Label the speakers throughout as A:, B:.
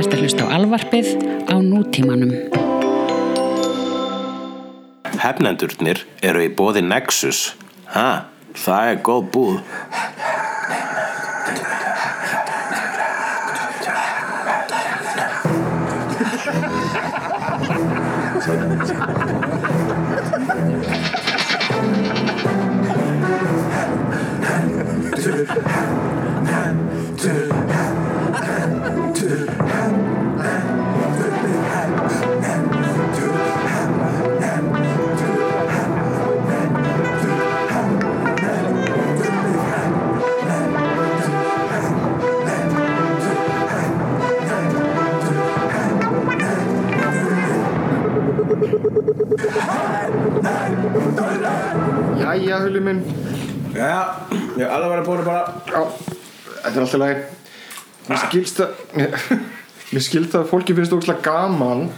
A: hlust á alvarpið á nútímanum.
B: Hefnendurnir eru í bóði Nexus. Ha, það er góð búð.
C: Jæja, hullu minn
D: Já, ég er alveg að búin að bara
C: Já, þetta er alltaf lagi Mér skilst að Mér skilst að fólki finnst ógslag gaman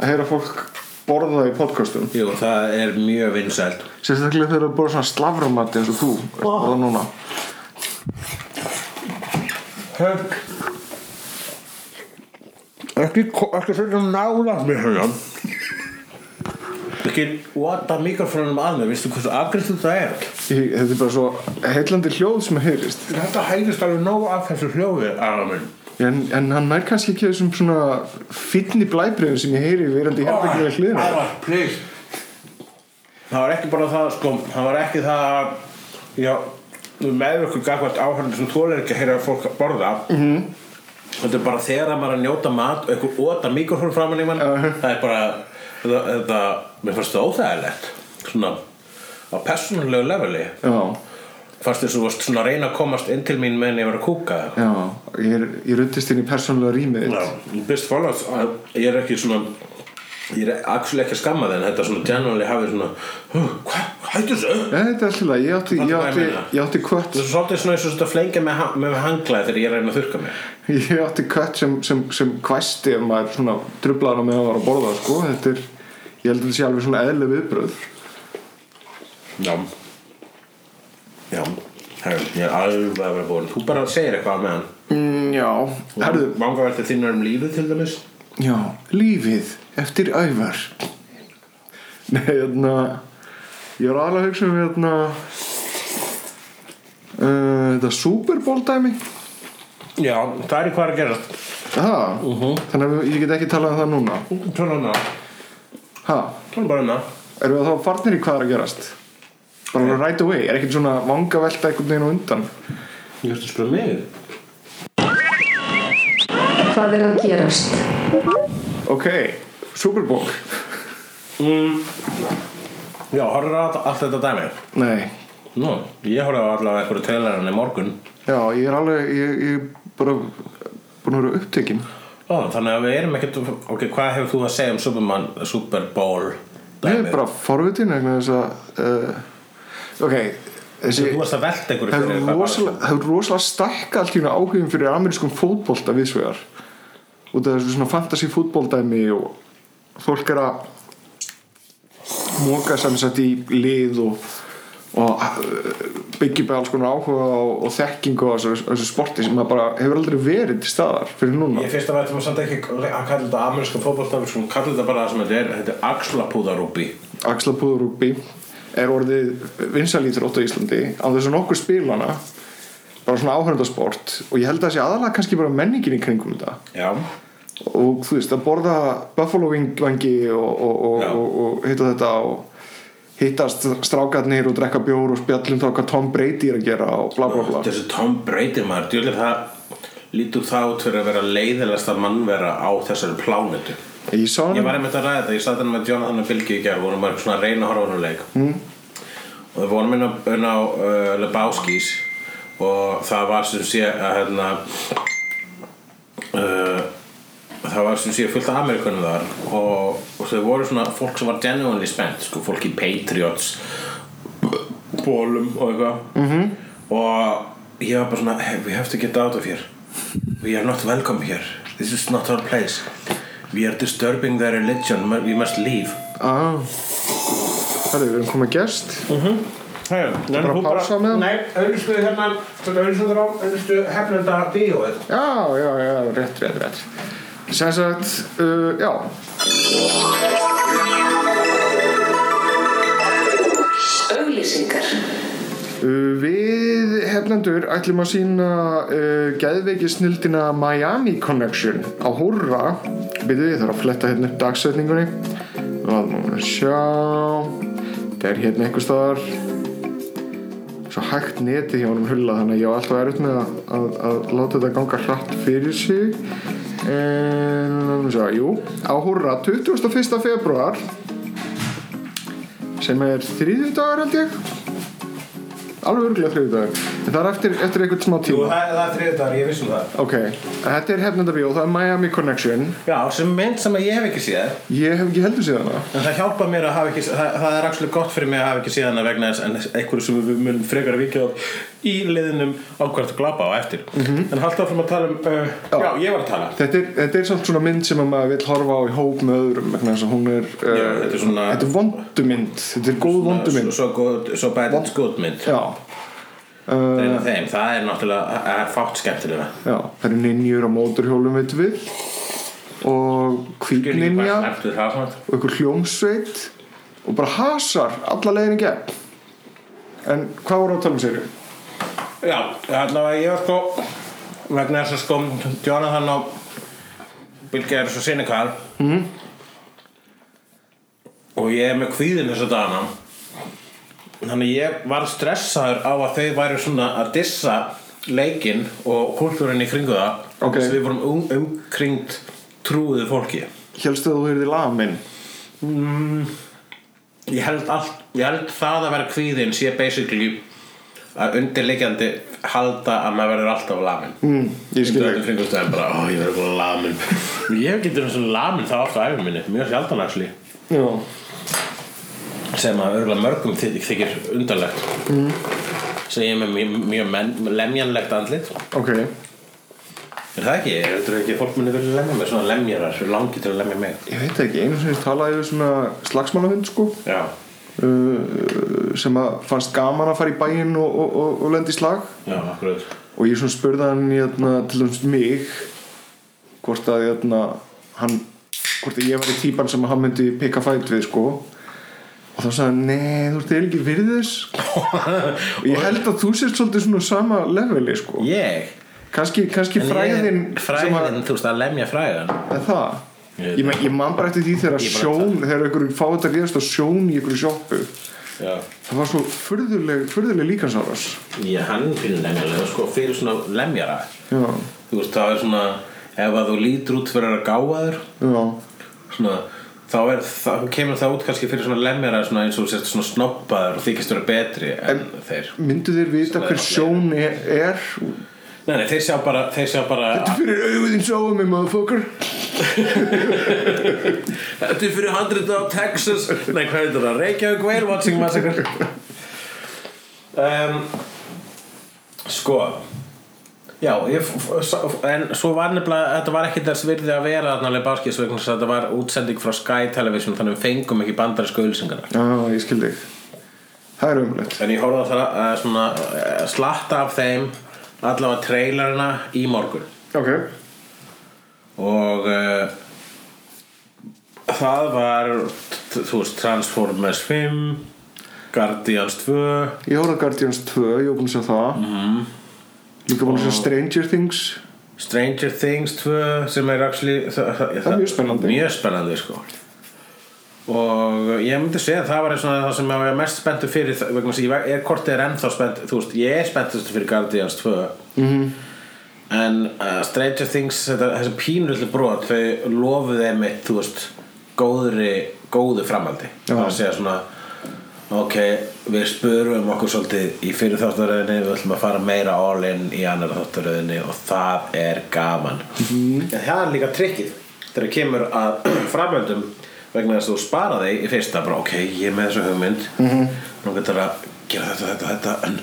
C: að heyra fólk borða í podcastum
D: Jú, það er mjög vinsælt
C: Sérstaklega þegar það borða svona slaframatti eins og þú ert að borða núna
D: Högg Ekki, ekki svona nálað mér hérna Ekki vata mikrofónum að mér, veistu hversu afgristu það er
C: Ég, Þetta er bara svo heillandi hljóð sem að heyrist
D: Þetta heyrist alveg nóg af þessu hljóði, aðra minn
C: en, en hann nær kannski ekki þessum svona finni blæbreyðum sem ég heyri verandi í herbygginu við hliðina
D: Aðra, please Það var ekki bara það, sko, það var ekki það að, já, með ykkur gagvart áhörnum sem þú er ekki að heyra fólk að borða mm -hmm.
C: Mhm.
D: Þetta er bara þegar maður er að njóta mat og einhver óta mikrofón framan í mann það er bara þetta, þetta, mér fannst það óþægilegt svona á persónulegu leveli
C: Já,
D: fannst þess að þú varst svona að reyna að komast inn til mín meðan ég var að kúka
C: já, ég, er, ég ruttist inn í persónulega rýmið þitt.
D: Já, best follows ég er ekki svona ég er actually ekki að skamma þenn þetta svona generally hafið svona "Huh, hvað, hættu þessu?
C: Nei, þetta er alltaf lagi, ég átti, ég
D: Fattu hvað ég
C: átti,
D: meina?
C: ég átti kött
D: Þetta er svolítið svona eins og þetta flengja með, ha- með hanglaði þegar ég er að reyna að þurka mig
C: Ég átti kött sem, sem, sem kvæsti ef maður svona drublaðan á meðan maður var að borða sko. þetta er, ég held að þetta sé alveg svona eðli viðbröð
D: Já Já, Herru, ég er alveg að vera búin Þú bara segir eitthvað með hann
C: mm, Já, herðu
D: Vangaveltir þínar um lífið til dæmis
C: Já, lífið eftir ævar Nei, hérna Ég er aðlega að hugsa um hérna uh, Þetta Super Bowl dæmi
D: Já, það er í hvað er að gerast
C: Það, þannig að ég get ekki talað um það núna
D: Tölum um það,
C: Ha,
D: tölum bara um það
C: erum við þá farnir í hvað er að gerast? Bara right away, er ekkert svona vangavelta einhvern veginn á undan
D: Ég ætti að spura mig
E: Hvað er að gerast?
C: Ok, Super Bowl
D: mm. Já, horfður á allt- allt þetta dæmi
C: Nei,
D: Nú, ég horfði á allavega einhverju trailerinn í morgun
C: já, ég er alveg Ég, ég bara búin að vera upptekinn
D: Ó, þannig að við erum ekkert Ok, hvað hefur þú að segja um Superman, Super Bowl
C: Ég er
D: dæmið?
C: bara forvitin vegna þess að uh, Ok, þessi
D: Þú varst að velta einhverju
C: Hefur
D: fyrir eitthvað bara.
C: rosalega, hefur rosalega stækka allt í hérna áhugum fyrir amerískum fótbolta viðsvegar út af þessu svona fantasy fótboltæmi og fólk er að móka samsett í lið og, og byggjum með alls konar áhuga og, og þekkingu á þessu, þessu sporti sem að bara hefur aldrei verið til staðar fyrir núna
D: Ég finnst að verðum samt ekki að kalla þetta ameríska fótbolta Við skulum kalla þetta bara það sem þetta er Þetta er axlapúðarúbi
C: axlapúðurúkbi er orðið vinsalíþrótt á Íslandi á þess að nokkur spilana bara svona áhörndasport og ég held að það sé aðalega kannski bara menningin í kringum þetta
D: Já
C: og þú veist að borða buffalo wing vangi og, og, og,
D: Já.
C: og, og hitta þetta og hittast strákarnir og drekka bjór og spjallum þá hvað Tom Brady er að gera og bla bla bla
D: Þessi Tom Brady maður Djúlega það lítur það út fyrir að vera leiðilegsta mannvera á þessari plánetu
C: ég sá
D: Ég
C: hann
D: var einmitt að ræða þetta, ég satt hann með Jonathan og Bilgi í gerð vorum maður svona að reyna að horfa á hann leik mm. og við vorum inn á, inn á uh, Lebowskis og það var sem sé að hérna uh, það var sem sé fullt af Amerikunum þar og, og þau voru svona fólk sem var genuinely spennt sko, fólk í Patriots bólum og eitthvað -hmm. og ég var bara svona hey, we have to get out of here we are not welcome here this is not our place we are disturbing their religion we must leave
C: ah. það er verið komið gest
D: Mm. Hei,
C: bara að pása með hann?
D: Nei, auðvistu hérna auðvistu þrá, auðvistu hefnenda bíóið
C: já já já rétt rétt rétt sem sagt, uh, já
E: Auglýsingar.
C: Uh, Við hefnendur ætlum að sína uh, geðveiki snildina Miami Connection á Hurra Við við þarf að fletta hérna upp dagsetningunni Láðum að vera að sjá Það er hérna einhvers staðar Svo hægt netið hjá honum hulla þannig að ég á alltaf erut með að, að, að láta þetta ganga hratt fyrir sig En, látum við sjá, jú, á Hurra 21. februar sem er þriðjudagar held ég alveg örgulega þriðjudagar en það er eftir, eftir einhvern smá
D: Jú,
C: tíma
D: það, það er þriðdagar, ég vissum það
C: ok, þetta er hefnendabíó, það er Miami Connection
D: Já, sem mynd sem að ég hef ekki séð
C: ég hef ekki heldur síðan það
D: En það hjálpa mér að hafa ekki það, það er actually gott fyrir mig að hafa ekki séð hana vegna þess en einhverju sem við munum frekar að vikja á í liðinum á hvert að glapa á eftir En halda áfram að tala um uh, já. ég var að tala
C: þetta er, þetta er samt svona mynd sem að maður vill horfa á í hóp með öðrum vegna þess að hún er uh,
D: Já, þetta er svona-
C: þetta er vondumynd þetta er góð
D: Svo,
C: vondumynd
D: svo, góð- svo bæðið skotmynd
C: já,
D: Það er einn af þeim, það er náttúrulega það er fátt skemmtilega
C: já, það eru ninjur á móturhjólum veit við og hvítninja
D: Bara snert við það, svona.
C: og einhver hljómsveit og bara hasar alla leiðin í gegn en hvað voru að tala um sér
D: Já, allavega ég var sko vegna þess að sko Jonathan og Bilge eru svo sinikal mm. og ég er með kvíðin þess að dana þannig ég var stressaður á að þau væri svona að dissa leikinn og kultúrin í kringu það
C: Ok.
D: þess að við vorum um, umkringt trúðu fólki
C: helstu að þú heyrði laga minn
D: ég held, all, ég held það að vera kvíðin sé basically að undirleikjandi halda að maður verður alltaf lamin mm,
C: Hm, ég skil þig.
D: ekki kringumstæðan bara, ó ég verður bara lamin ég getur eins og um lamin það oft á æfum minni mjög sjaldan axli
C: já,
D: sem að örgulega mörgum þy- þykir undarlegt mm. sem ég er með mjög, mjög men, lemjanlegt andlit
C: ok
D: er það ekki, ég heldur ekki að fólk muni verið lemja mig svona lemjarar, svo langi til að lemja mig
C: ég veit ekki, einu sinni talaði við svona slagsmannahund sko
D: já,
C: uh, sem að fannst gaman að fara í bæinn og, og, og, og lendi í slag
D: já, akkurat
C: og ég svona spurði hann hérna, til dæmis mig hvort að hérna, hann hvort að ég var í típan sem hann myndi pikka fæt við sko og þá sagði hann, nei, þú ert eiginlega ekki virðis og ég held að þú sért svolítið svona á sama leveli sko
D: ég
C: kannski, kannski
D: En ég-
C: fræðin sem að-
D: fræðin, þú veist að lemja fræðan
C: Er það?
D: Ég veit
C: Ég, man, ég man bara eftir því þegar
D: Ég bara
C: sjón þegar einhverjum fá þetta gerist á sjón í einhverju sjoppu
D: já
C: það var svo furðuleg, furðuleg líkansáras
D: Já, hann fyrir lemjalega, sko, fyrir svona lemjara
C: já,
D: Þú veist, það er svona, ef að þú lítur út fyrir að gáfa þér
C: já,
D: Svona, þá er, þá kemur það út kannski fyrir svona lemjara Svona eins og þú sért svona snoppaður og þykist vera betri en, þeir
C: myndu þeir vita
D: Sem er
C: hver sjón er, er?
D: Nei, nei, þeir sjá bara, þeir sjá bara
C: Þetta er fyrir auðvithin sjáum mig motherfucker
D: Þetta er fyrir 100 á Texas Nei, hvað heitir það? Reykjavík Whale Watching Massacre um, Sko Já, ég, f- f- s- en svo var nefnilega þetta var ekki þess virði að vera þarna alveg báskis vegna þess að þetta var útsending frá Sky Television þannig við fengum ekki bandarísku auðlýsingarnar
C: já, ég skil þig það er umlegt
D: En ég horfði að það að svona eh, slatta af þeim allavega trailerina í morgun
C: ok,
D: og uh, það var t- þú veist Transformers 5 Guardians 2
C: ég horfði að Guardians 2 ég var búin að sjá það líka búin að sjá Stranger Things
D: Stranger Things 2 sem er actually, það, það,
C: mjög spennandi.
D: mjög spennandi sko. og ég myndi segja að það var eins og það sem ég var mest spenntu fyrir það- vegna þess að ég var- er kortið er ennþá spennt þú veist ég er spenntust fyrir Guardians 2 mm -hmm. en uh, Stranger Things þetta, þessi pínullu brot þau lofuðu einmitt þú veist góðri, góðu framaldi
C: Já.
D: það er að segja svona ok, við spurum okkur svolítið í fyrir þáttaröðinni, við ætlum að fara meira all in í annar þáttaröðinni og það er gaman mm. en það er líka trikkið þegar kemur að framöndum vegna þess að þú spara þig í fyrsta bara ok, ég er með þessu hugmynd mm. nú getur að gera þetta, þetta, þetta en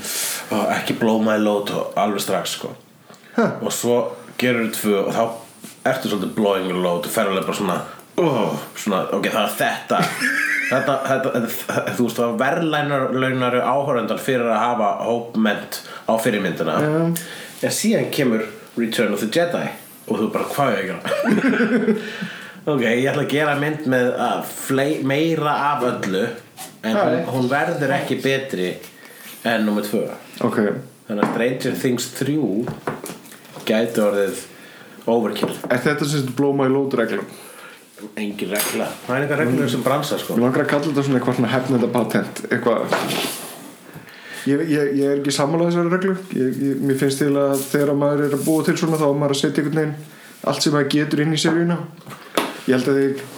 D: og ekki blow my load og alveg strax sko og svo gerur þú tvö og þá ertu svolítið blowing your load og fer alveg bara svona, oh, svona ok, það er þetta þetta, þetta, þetta, þú veist, það verðlænarlaunari áhorendar fyrir að hafa hópment á fyrirmyndina en síðan kemur Return of the Jedi og þú bara hvað er ég að gera ok, ég ætla að gera mynd með að flei, meira af öllu en hún,
C: Alright.
D: hún verður ekki betri en nummer tvö
C: ok,
D: þannig að Stranger Things 3 gæti orðið overkill
C: er þetta sem þetta blow my load reglum
D: engin regla það er einhver reglur sem bransa sko
C: Mér langar að kalla þetta svona eitthvað svona hefnenda patent eitthvað ég, ég, ég er ekki sammála þessari reglu ég, ég, mér finnst til að þegar maður er að búa til svona þá á maður að setja einhvern veginn allt sem maður getur inn í seríuna ég held að þeir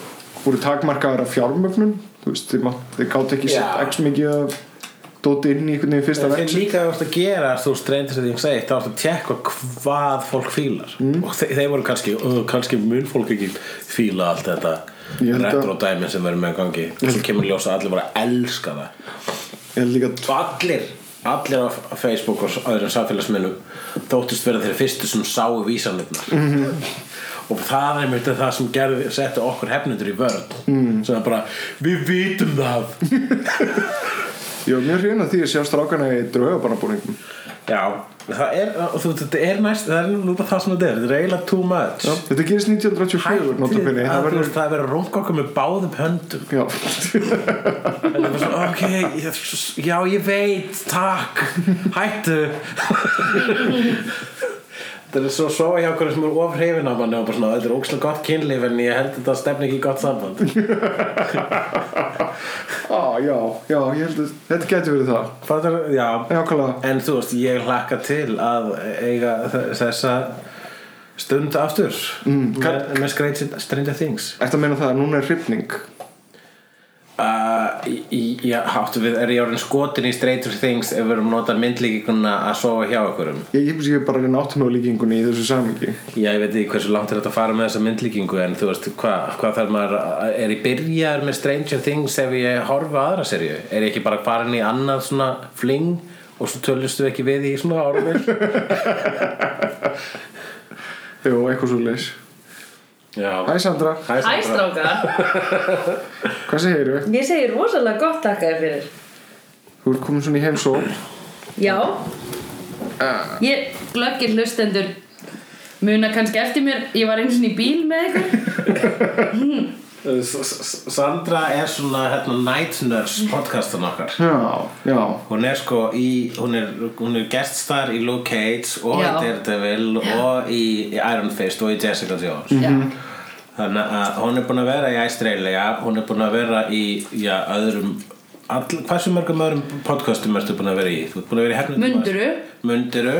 C: voru takmarkaðar af fjármögnun þú veist, þeir, mátt- þeir gátt ekki
D: Já.
C: sett x mikið að dóti inn í einhvern veginn fyrsta
D: Þeir
C: veginn
D: líka þú ert að gera þú streyndir því að segja þá ert að tjekka hvað fólk fílar og þe þeir voru kannski uh, kannski mun fólk ekki fíla allt þetta
C: Ég held að-
D: retro dæmi sem verður með gangi og svo kemur ljósa að allir voru að elska það
C: ég held líka
D: og allir allir á Facebook og s- öðrum samfélagsmiðlum þóttist vera þeir fyrstu sem sáu vísanirnar
C: Mhm.
D: og það er mjög það sem gerði, setti okkur hefnundur í vörð
C: Mhm.
D: mm. sem er bara við vitum það
C: ég var mjög hrjuna því að sjá strákana í draugabarnabúningum
D: Já, það er, og þú, þetta er næst, það er nú bara það sem þetta er, þetta er eiginlega too much.
C: þetta gerist 1984
D: Hættið
C: notabene,
D: að
C: það
D: þú veist,
C: verður
D: það er verið að runga okkur með báðum höndum.
C: já,
D: Það er bara svo, ok, ég- já, ég veit, takk, hættu. Það er svo svo hjá okkur sem er of hrifin af manni og bara svona, þetta er ógslag gott kynlíf en ég held þetta stefni ekki í gott samband.
C: á, já, já ég held að þetta getur verið það
D: Fattar, já,
C: Nákvæmlega.
D: En þú veist, ég hlakka til að eiga þ- þessa stund aftur mm, með, með Stranger- Stranger Things
C: Ertu að meina það að núna er hrifning?
D: uh, Já, háttu við er ég orðin skotin í Stranger Things ef við erum notað myndlíkinguna að sofa hjá um? okkurum
C: Ég, ég, ég er bara að reyna áttum á líkingunni í þessu samingi
D: Já, ég veit ekki hversu langt er þetta að fara með þessa myndlíkingu en þú veist, hvað hva þarf maður að- er ég byrjar með Stranger Things ef ég horfa aðra serju? Er ég ekki bara farin í annað svona fling og svo tölustu ekki við í svona árum
C: Jó, eitthvað svo leis
D: Já,
C: Hæ Sandra,
F: Hæ strákar,
C: hvað segir við?
F: ég segi rosalega gott takkaði fyrir
C: Þú ert komin svona í heimsól
F: Já Ég glöggir hlustendur muna kannski eftir mér ég var einu sinni í bíl með ykkur
D: S- S- Sandra er svona hérna, Night Nurse podcastan okkar
C: Já, já
D: hún er sko í hún er, hún er geststar í Luke Cage og
F: Já.
D: í Daredevil og í, í Iron Fist og í Jessica Jones
F: Já,
D: þannig að hún er búin að vera í Australia hún er búin að vera í já, öðrum all, hversu mörgum öðrum podcastum ertu búin að vera í þú ert búin að vera í hernum
F: Munduru,
D: Munduru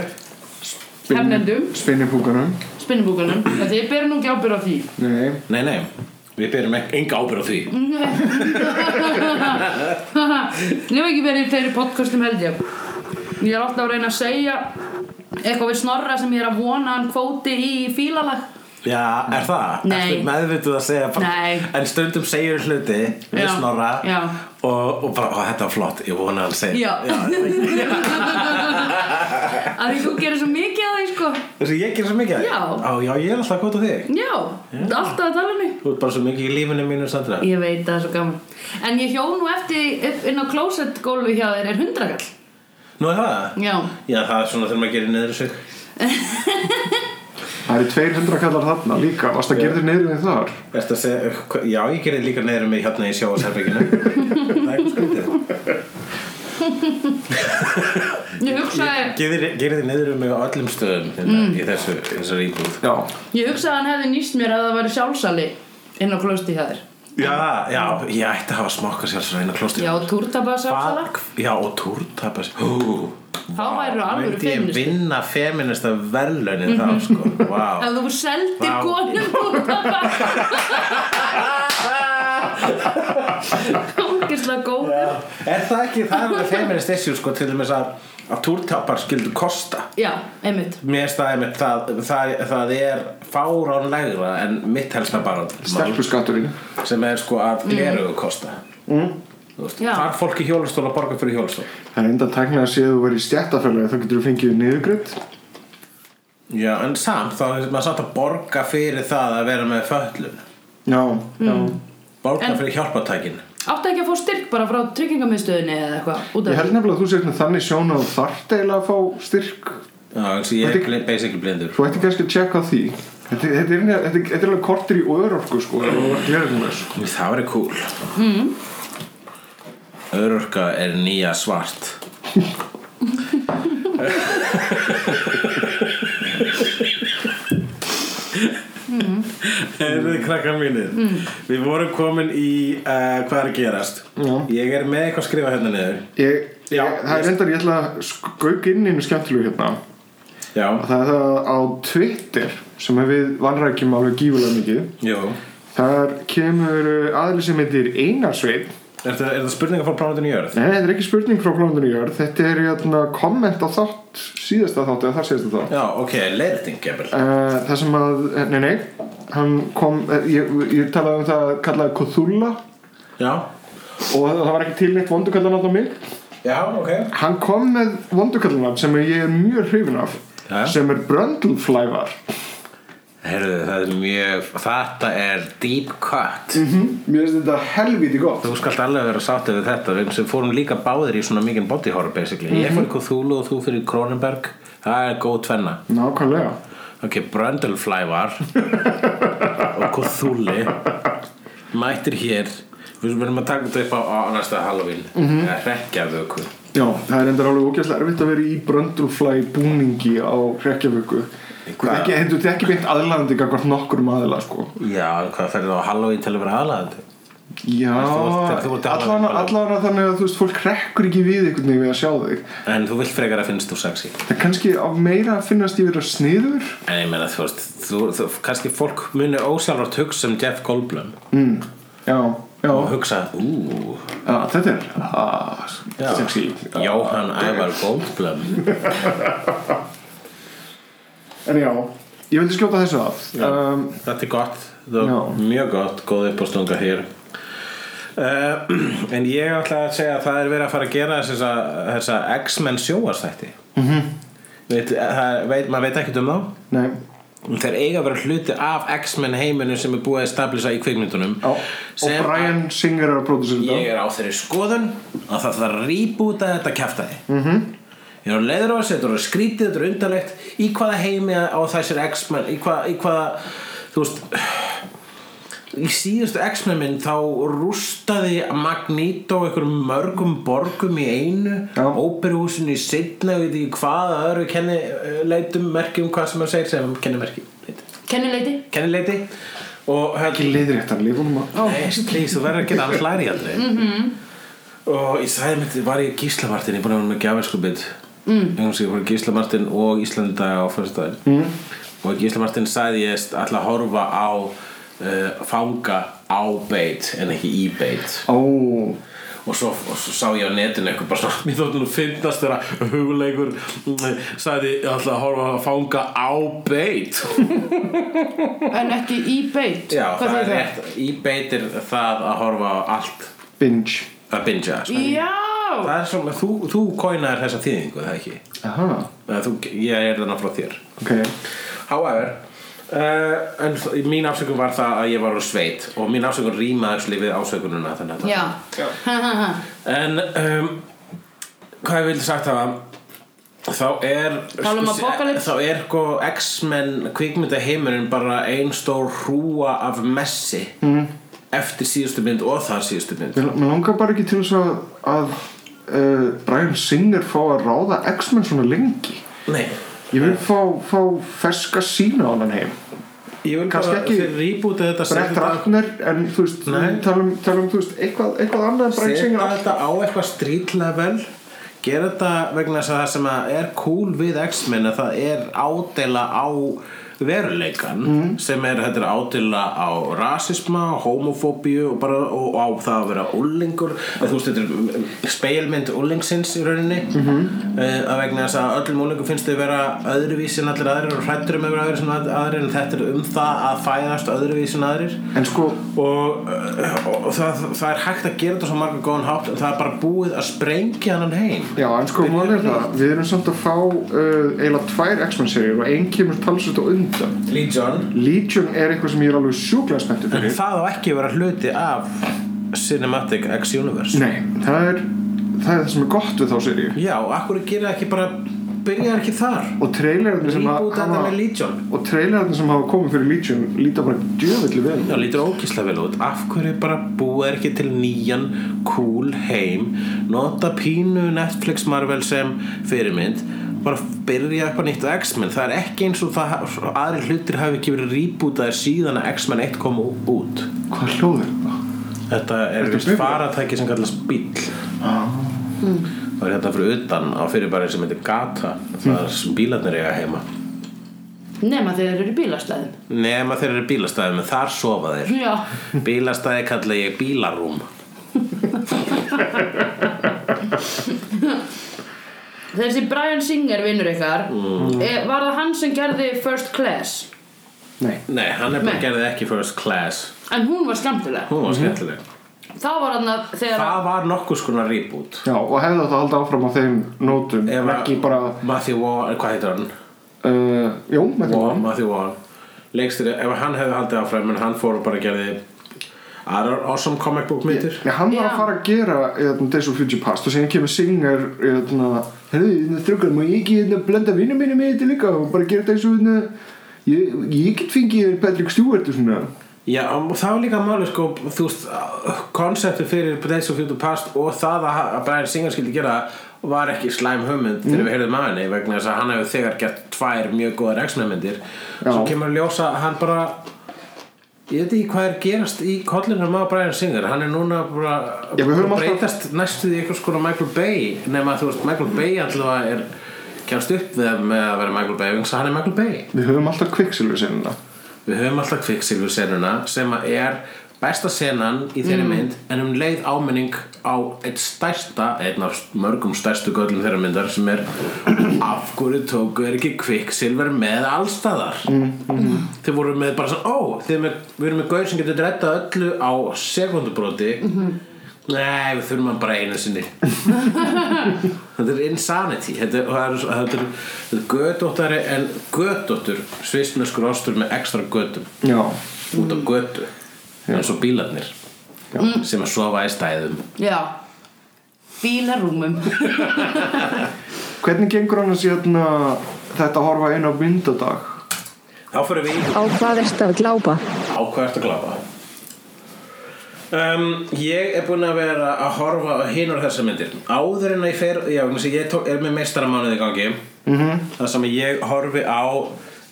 F: hefnendum,
C: Spinnipúkanum
F: spinnubúkunum Þetta ég ber nú ekki ábyrð á því
C: Nei,
D: nei nei við byrjum ekki enga ábyrð á því
F: Mm. Nefnum ekki verið í fleiri podcastum held ég Ég er alltaf að reyna að segja eitthvað við snorra sem ég er að vona að hann kvóti í fílalag
D: Já, er það?
F: Nei.
D: Ertu meðvituð að segja bara,
F: Nei.
D: En stundum segir hluti Við
F: Já,
D: snorra
F: já.
D: Og, og bara, ó, þetta var flott, ég vona að hann segja
F: Já, Að því þú gerir svo mikið að því sko
D: Þessi ég gerir svo mikið
F: Já.
D: Á, já, ég er alltaf gott á þig
F: Já, alltaf að tala um mig
D: Þú ert bara svo mikið í lífinu mínu, Sandra
F: Ég veit það er svo gaman En ég hjó nú eftir upp inn á klósett gólfi hjá þér er hundrakall
D: Nú er það?
F: Já
D: Já, það er svona þegar maður gerir niður sig
C: það eru 200 kallar þarna líka Varst að gera þér neyður við þar?
D: Ertu að segja, eh, hva- Já, ég gerir líka niður mig hérna í sjóðsherbygginu Það er eitthvað skrítið
F: Ég hugsaði,
D: Gerir gerir þið niður mig á öllum stöðum hérna,
F: Mm.
D: Í þessu, þessu íbúð
C: Já
F: ég hugsaði að hann hefði nýst mér að það væri sjálfsali inn á klósetti hjá þér
D: Já, já, ég ætti að hafa smokkað sér svo reyna klóstur
F: Já, túrtaba sjálfsala
D: Hvað- Já, og túrtapa Hú,
F: Þá væru alvöru Mhm.
D: myndi ég
F: feministi.
D: vinna feminista verðlaunin þá, sko Vá
F: Ef þú seldir
D: Vá.
F: konum túrtaba Ógislega góður
D: Er það ekki, það er alveg feminist issue, sko, til dæmis að að túrtapar skildu kosta
F: Já, einmitt
D: Mér staði með það, það, það er fáránlegra en mitt helsta bara
C: Stelpuskatturinn
D: sem er sko að gleruðu kosta Þú veist,
F: Mm. Já.
D: þar fólki hjólastól að borga fyrir hjólastól
C: Það er enda tæknað að séu þú verið í stjættafélagi þá getur þú fengið niðurgritt
D: Já, en samt, þá er maður samt að borga fyrir það að vera með föllun
C: Já, já
D: Borga
F: En-
D: fyrir hjálpatækin
F: Áttu ekki að fá styrk bara frá tryggingamiðstöðinni eða eitthvað út af
C: Ég
F: því?
C: held nefnilega að þú sér þannig sjón að þú þarft eiginlega að fá styrk
D: Já, eins og ég
C: Þetta
D: er
C: er-
D: bli- basically blindur
C: Þú ætti kannski að tjekka á því Þetta, þetta, er, þetta, er- þetta er alveg kortir í örorku sko, ef þú ert gleraugun með, sko.
D: Það væri cool mm. Örorka er nýja svart Heyrðu krakkar mínir Við vorum komin í uh, hvað er að gerast
C: Já.
D: Ég er með eitthvað að skrifa hérna niður
C: Ég,
D: Já,
C: ég, það er reyndar ég ætla að skauk inn í einu skemmtilegu hérna
D: Já,
C: það er það á Twitter sem við vannrækjum alveg gífulega mikið
D: jú
C: þar kemur aðli sem heitir Einarsveit
D: Er það, er það spurninga frá plánutinu jörð?
C: Nei, þetta er ekki spurning frá plánundinu jörð þetta er hérna, komment á þátt síðasta þátt eða þar síðasta þátt
D: Já, ok, leirting gefur
C: uh, það sem að, nei nei hann kom, eh, ég, ég talaði um það kallaði Cthulhu
D: Já,
C: og það var ekki til neitt vondukallanafn á mig
D: já, ok
C: hann kom með vondukallanafn sem ég er mjög hrifin af
D: Jæja.
C: sem er Brundleflævar
D: Herðu, það er mjög, þetta er deep cut
C: Mér finnst þetta helviti gott
D: Þú skalt alveg vera sáttið við þetta við sem fórum líka báðir í svona mikið body horror basically Ég fór í Cthulhu og þú fyrir Kronenberg Það er góð tvenna
C: Nákvæmlega
D: Ok, Brundlefly var og Cthulhu mættir hér Við verðum að taka þetta upp á, á næsta Halloween mm -hmm. eða rekkjavöku
C: Já, það er endur alveg ógæslega erfitt að vera í bröndulflæ búningi á hrekkjavöku Þetta er ekki, þetta er ekki beint aðlandi gagvart nokkur um aðla sko
D: Já, hvað ferðu á Halloween til að vera aðlaðandi?
C: Já,
D: Þú- þú- þú- þú-
C: allan allan þannig að þú veist, fólk hrekkur ekki við einhvern veginn við að sjá þig
D: En þú vilt frekar að finnst þú sexy
C: Það er kannski á meira að finnast ég vera sniður
D: En ég meina þú veist, þú, þú, kannski fólk muni ósjálfrátt hugsa um Jeff Goldblum
C: Já, já,
D: og hugsa, úúú
C: já þetta er ah, sexy
D: Jóhann Ævar Goldblum
C: En já, ég vildi skjóta þessu að um,
D: Þetta er gott, það
C: Já.
D: er mjög gott góð uppástunga hér uh, En ég ætla að segja að það er verið að fara að gera þessa, þessa X-Men sjóastætti mm
C: Mhm.
D: veit, það, veit, Maður veit ekkert um þá
C: Nei,
D: Þeir eiga að vera hluti af X-Men heiminu sem er búið að stablisa í kvikmyndunum
C: já Og
D: sem
C: Brian Singer er að pródusera þetta
D: ég er á þeirri skoðun að það þarf að rýbúta þetta kæftæði -hmm. ég er á leiður á þessu, þetta er skrítið þetta er undarlegt í hvaða heimi á þessir X-Men í, hvað, í hvaða, þú veist í síðustu X-Men minn þá rústaði Magneto einhverjum mörgum borgum í einu
C: Já.
D: óperuhúsinu í Sydney og ég veit ekki hvaða öðru kennileitum merkjum hvað sem það segir sem kennimerki
F: Kennileiti
D: kennileiti og hérna
C: Ekki leiðréttan, leifunum að
D: Nei, please, þú verður að geta annars læri aldrei -hmm. Og ég sagði mitt, var ég í Gíslamartin, ég er búin að vera með gjafirskupið mm. Ég var í Gíslamartin og Íslanda á fyrstudaginn mm. Og í Gíslamartin sagði ég ætla að horfa á uh, fanga á beit en ekki í beit
C: Ó,
D: og svo, og svo sá ég á netinu eitthvað bara svona, mér þóttum nú finnast þegar hugleikur mm, sagði ég ætla að horfa að fanga á beit
F: En ekki í beit
D: Já,
F: Hvað
D: það er
F: þýðir
D: rétt, í beit er það að horfa á allt
C: binge
D: að bingja sko.
F: Já
D: það er svona, þú, þú kóinar þessa þýðingu er það ekki,
C: Aha,
D: Eða þú, ég er þarna frá þér
C: ok
D: however uh, en þ- mín afsökun var það að ég var úr sveit og mín afsökun rýmaði við ásökununa þannig að
F: Já Ha, ha, ha.
D: það en um, hvað ég vildi sagt það þá er
F: Tala um apocalypse.
D: þá er sko X-Men kvikmynda bara ein stór hrúa af messi mm. eftir síðustu mynd og þar síðustu mynd
C: Mér mér langar bara ekki til þess að, að uh, Brian Singer fá að ráða X-Men svona lengi
D: nei
C: Ég vil fá, fá ferska sína á hann heim
D: Ég vil
C: Kannski
D: bara
C: ekki
D: þeir rýbúta þetta
C: Brett
D: setja þetta-
C: Ratner en þú veist
D: Nei.
C: tala um, tala um þú veist, eitthvað, eitthvað annað en Brian Singer
D: setja
C: all...
D: þetta á eitthvað street level gera þetta vegna þess að það sem að er cool við X-Men að það er ádela á veruleikan sem er þetta er ádela á rasisma, homofóbíu og, bara, og, og á það að vera úlingur þú veist þetta er speilmynd úlingsins í rauninni mm -hmm. að vegna þess að öllum úlingum finnst þau vera öðruvísi en allir aðrir og hrættur um að vera aðrir sem aðrir en þetta er um það að fæðast öðruvísi en aðrir
C: En sko,
D: og, uh, og það, það er hægt að gera þetta á svo marga góðan hátt en það er bara búið að sprengja hann heim
C: já, en sko mál er það Við erum samt að fá uh, eiginlega tvær X-Men serjur og einn kemur talsveit á undan
D: Lee John
C: Legion er eitthvað sem ég er alveg sjúklega spenntur fyrir
D: það á ekki að vera hluti af Cinematic X Universe
C: Nei, það er, það er það sem er gott við þá serju
D: já, akkur gera ekki bara byrjar ekki þar
C: og trailerarnir sem að
D: Reboot þetta með Legion
C: og trailerarnir sem hafa komið fyrir Legion líta bara djöfelli vel
D: Já, lítur ókíslega vel út Af hverju bara búa er ekki til nýjan cool heim Nota pínu Netflix Marvel sem fyrirmynd bara byrja upp á nýtt á X-Men það er ekki eins og það aðri hlutir hafi ekki verið rýbútaðir síðan að X-Men 1 kom ú- út
C: hvað hljóður þetta?
D: Þetta er
C: Ertu
D: vist
C: bifur?
D: faratæki sem kallast bíll Það er hérna fyrir utan á fyrirbæri sem heitir Gata það er sem bílarnir eiga heima
F: nema þegar þeir eru í bílastæðum
D: Nema þeir eru bílastæðum en þar sofa þeir
F: já,
D: Bílastæði kalla ég bílarúm
F: þessi Brian Singer vinnur ykkar eh, var það hann sem gerði First Class
C: nei
D: Nei, hann er bara
F: Nei.
D: gerði ekki first class
F: en hún var skemmtileg
C: Mhm.
D: Hún var skemmtileg
F: það var hann að þegar
D: Það var nokkuð skona reboot
C: já og hefði þetta haldið áfram á þeim nótum
D: Ef að-
C: ekki bara
D: Matthew Vaughn, hvað heitir hann?
C: uh, jú með
D: Vaughn,
C: þetta
D: Matthew Vaughn Leikstir, ef hann hefði haldið áfram En hann fór og bara gerði Aðrar awesome comic book myndir
C: Já, hann var
F: Já.
C: að fara að gera eðna, Days of Future Past og síðan kemur Singer eðna, hefði þrjókar, má ég ekki eðna, blenda vinnu mínu með þetta líka og bara gera Days of eðna, ég, ég get fengið Patrick Stewart og svona
D: Já, og það var líka máli sko Þú veist, konsepti fyrir Days of Future Past Og það að að Brian Singer skildi gera Var ekki slæm hugmynd
C: Mm.
D: Þegar við heyrðum að henni Vegna þess að hann hefur þegar gert tvær mjög góðar X-Men myndir Svo
C: Já.
D: kemur að ljósa að hann bara Ég veit ekki hvað er gerast í kollinum á Brian Singer Hann er núna bara
C: Já, við höfum
D: bara
C: alltaf-
D: breytast næstu því eitthvað skona Michael Bay nema að þú veist Michael Bay alltaf er kjast upp við það með að vera Michael Bay vegna þess að hann er Michael Bay
C: við höfum alltaf kviksilur sinna
D: Við höfum alltaf kviksilfur senuna sem að er besta senan í þeirri mynd en um leið áminning á eitt stærsta, einn af mörgum stærstu göllum þeirra myndar sem er af hverju tóku er ekki kviksilfur með allstaðar Þeir voru með bara svo, ó, þeir eru með, við erum með gaur sem getur rettað öllu á sekundubróti Nei, við þurfum hann bara einu sinni Þetta er insanity Þetta er, það er, þetta er, þetta er gödóttari en gödóttur svisneskur ástur með ekstra gödum
C: já,
D: út á
C: Mm.
D: gödu eins og bílarnir sem að sofa í stæðum
F: já bílarúmum
C: hvernig gengur hann að sérna þetta að horfa inn á myndadag
D: Þá fyrir við í
G: Á hvað erst að glápa?
D: á hvað ertu að glápa um, ég er búinn að vera að horfa á hinur þessar myndir áður en að ég fer já, vegna þess að ég tók, er með meistaramánuð í gangi
C: Mhm.
D: -hmm. það sem ég horfi á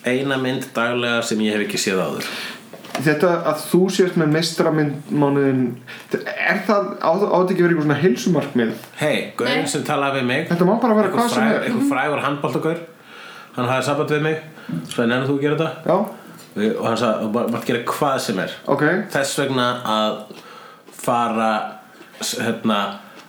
D: eina mynd daglega sem ég hef ekki séð áður
C: þetta að þú sért með mestramyndmánuðin er það átt ekki verið eitthvað svona heilsumarkmið
D: hei, gauðin
F: Nei.
D: sem talaði við mig
C: Þetta má bara vera hvað sem er. Mhm.
D: einhver frægur handbóltagaur hann hafði samband við mig svo hann ennum þú að gera þetta
C: já,
D: Við- og hann sagði, þú bara- mátt gera hvað sem er
C: ok,
D: þess vegna að fara s- hérna,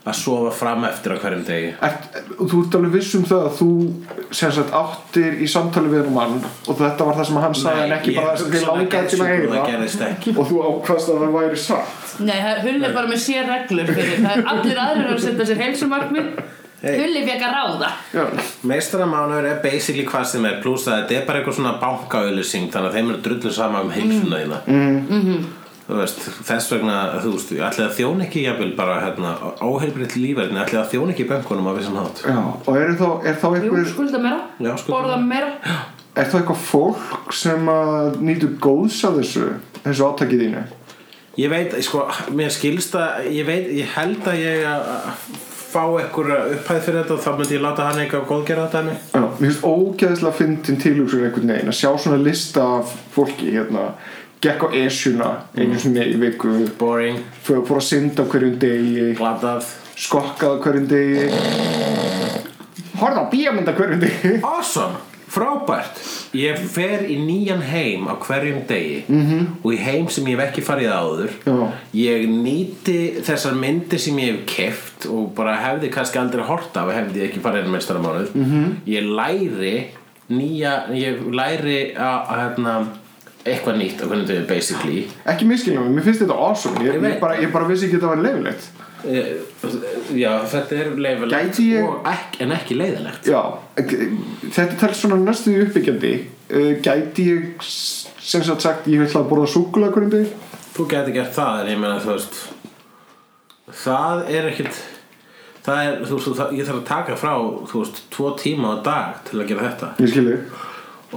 D: að sofa fram eftir á hverjum degi
C: Ert, þú ert alveg viss um það að þú sem sagt áttir í samtali við hann og þetta var það sem hann sagði en ekki
D: ég
C: bara það sem þið
D: hugsaði
C: langaði til að
D: gerðist, það
C: heyra
D: gerðist ekki
C: og þú ákvast að það væri satt
F: Nei, það er Hulli bara með sér reglur fyrir það er allir aðrir að setja sér heilsumarkmið
D: Hey.
F: Hulli fekk að ráða
C: já,
D: meistaramánuður er basically hvað sem er pluss að þetta er bara eitthvað svona bankaauðlýsing þannig að þeim eru drullu sama um heilsuna þína mm. þú veist þess vegna þú veist, ætli að þjón ekki jafnvel bara hérna, óheilbritt lífverðin ætli að þjón ekki bönkunum á vissan hátt
C: já. og er þá, er þá
F: Jú,
C: eitthvað
F: skulda meira,
D: Já, skulda
F: borða meira
C: er þá eitthvað fólk sem að nýtur góðs af þessu þessu átakið þínu
D: Ég veit, sko, mér skilst að ég veit, ég held að ég að fá einhverja upphæð fyrir þetta og þá myndi ég láta hann eitthvað góðgera þetta mig
C: Já, mér finnst ógeðslega fyndin tilhugsun einhvern veginn að sjá svona lista af fólki hérna gekk á esjuna einu sinni í viku
D: Boring,
C: fór fór að synda á hverjum degi
D: glatað
C: skokkað á hverjum degi horfða á bíamönda hverjum degi
D: Awesome, frábært Ég fer í nýjan heim á hverjum degi -hmm. og í heim sem ég hef ekki farið áður
C: Mhm. Já.
D: Ég nýti þessar myndir sem ég hef keft og bara hefði kannski aldrei hort af hefði ég ekki farið enn meistaramánuð mm
C: Mhm.
D: -hmm. Ég læri nýja, ég læri að, að hérna, eitthvað nýtt á hvernig þau basically
C: ekki miskilja mig, mér finnst þetta awesome ég,
D: Ég
C: ég,
D: veit.
C: bara, ég bara vissi ekki að þetta var leifilegt
D: Eh, Já, þetta er leifilegt
C: Gæti ég-
D: og ekki, en ekki leiðilegt
C: já, ek- þetta telst svona næstu því uppbyggjandi uh, gæti ég s- sem sagt sagt ég ætla að borða súkulega hverjum degi
D: Þú gæti gert það en ég meina þú veist Það er ekkit Það það er, þú veist, það, ég þarf að taka frá þú veist, tvo tíma á dag til að gera þetta
C: ég skil þig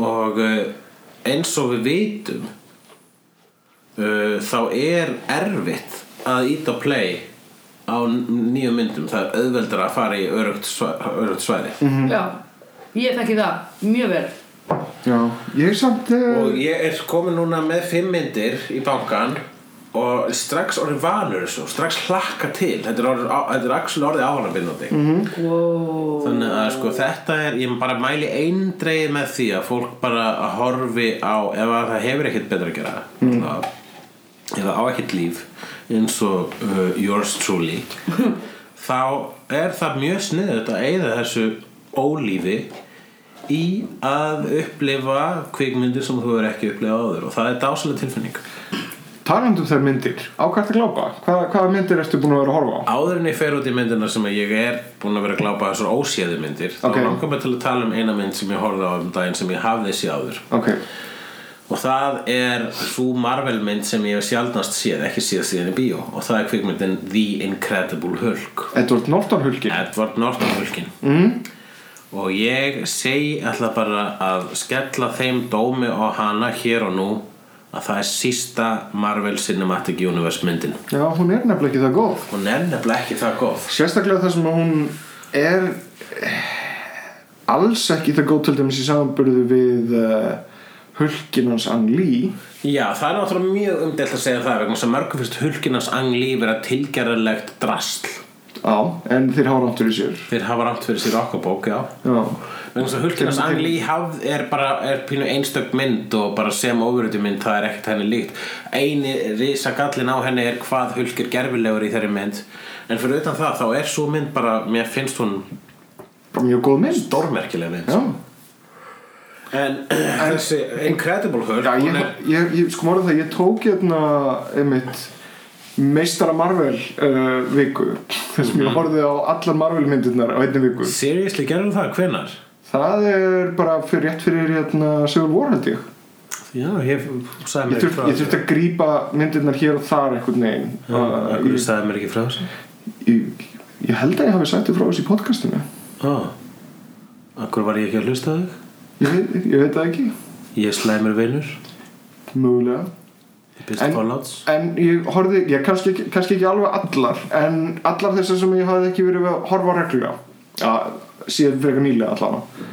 D: og eh, eins og við vitum uh, þá er erfitt að íta play á nýjum myndum það er auðveldar að fara í örugt svæði, örugt svæði.
F: Já, ég þekki það mjög vel
C: já, ég er samt
D: og
C: eh,
D: ég er komin núna með fimm myndir í bankan og strax orðin vanur þessu strax hlakka til þetta er, orðið, á- þetta er axil orðið áhannabindandi mm -hmm.
F: wow.
D: þannig að sko þetta er ég bara mæli eindreið með því að fólk bara horfi á ef að það hefur ekkert betra að gera mm. ef það á ekkert líf eins og uh, yours truly þá er það mjög sniðut að eigða þessu ólífi í að upplifa kvikmyndir sem þú hefur ekki upplifað áður og það er dásalega tilfinning
C: talandi um þær myndir, á hvað ertu að glápa? Hvað, hvaða myndir ertu búin að vera að horfa á?
D: áður en ég fer út í myndina sem ég er búin að vera að glápa þessar óséðu myndir
C: Ok.
D: þá langar mig til að tala um eina mynd sem ég horfði á um daginn sem ég hafði séð áður
C: ok,
D: og það er svo Marvel mynd sem ég hef sjaldnast séð ekki séð síðan í bíó og það er kvikmyndin The Incredible Hulk
C: Edward Norton hulkir
D: Edward Norton Hulkin mm. og ég segi alltaf bara að skella þeim dómi á hana hér og nú að það er sísta Marvel Cinematic Universe myndin
C: já, hún er nefnilega ekki það góð
D: hún er nefnilega ekki það góð
C: sérstaklega þar sem að hún er eh, alls ekki það góð til dæmis í samanburðu við uh, hulkinans Ann Lee
D: Já, það er náttúrulega mjög umdelt að segja það vegna þess að mörgum finnst hulkinans anglí vera tilgerðarlegt drasl
C: á, en þeir hafa ráttur í sér
D: þeir hafa rámt fyrir sér okkar bók, já
C: já,
D: vegna þess að hulkinans
C: Kemur til-
D: anglí er bara er pínu einstök mynd og bara sem ofurötu mynd það er ekkert henni líkt eini risagallin á henni er hvað hulk er gerfilegur í þeirri mynd en fyrir utan það þá er svo mynd bara mér finnst hún
C: bara mjög góð mynd
D: dormerkilega mynd
C: já,
D: en, þessi Incredible Hulk
C: já
D: hún
C: ég,
D: er,
C: ég, ég sko morðið það, ég tók hérna einmitt meistara Marvel uh, viku þessum
D: Mhm.
C: ég horfið á allar Marvel myndirnar á einni viku
D: seriously gerðu það, hvenar?
C: það er bara fyrir rétt fyrir hérna Civil War held ég
D: Já, ég sagði
C: ég
D: mér
C: þurft
D: frá
C: ég þurft að grípa myndirnar hér og þar einhvern veginn uh,
D: Akkur sagði mér ekki frá þessu
C: ég, ég held að ég hafi sagt þér frá þessu í podcastinu
D: Á, akkur Ah. var ég ekki að hlusta á þig?
C: ég, veit- ég veit það ekki,
D: Ég er slæmur vinur,
C: mögulega
D: ég byrst
C: En-
D: fallouts.
C: en ég horfði, ég kannski, ekki- kannski ekki alveg allar en allar þessar sem ég hafði ekki verið að horfa á reglulega ja, síðan frekar nýlega allavega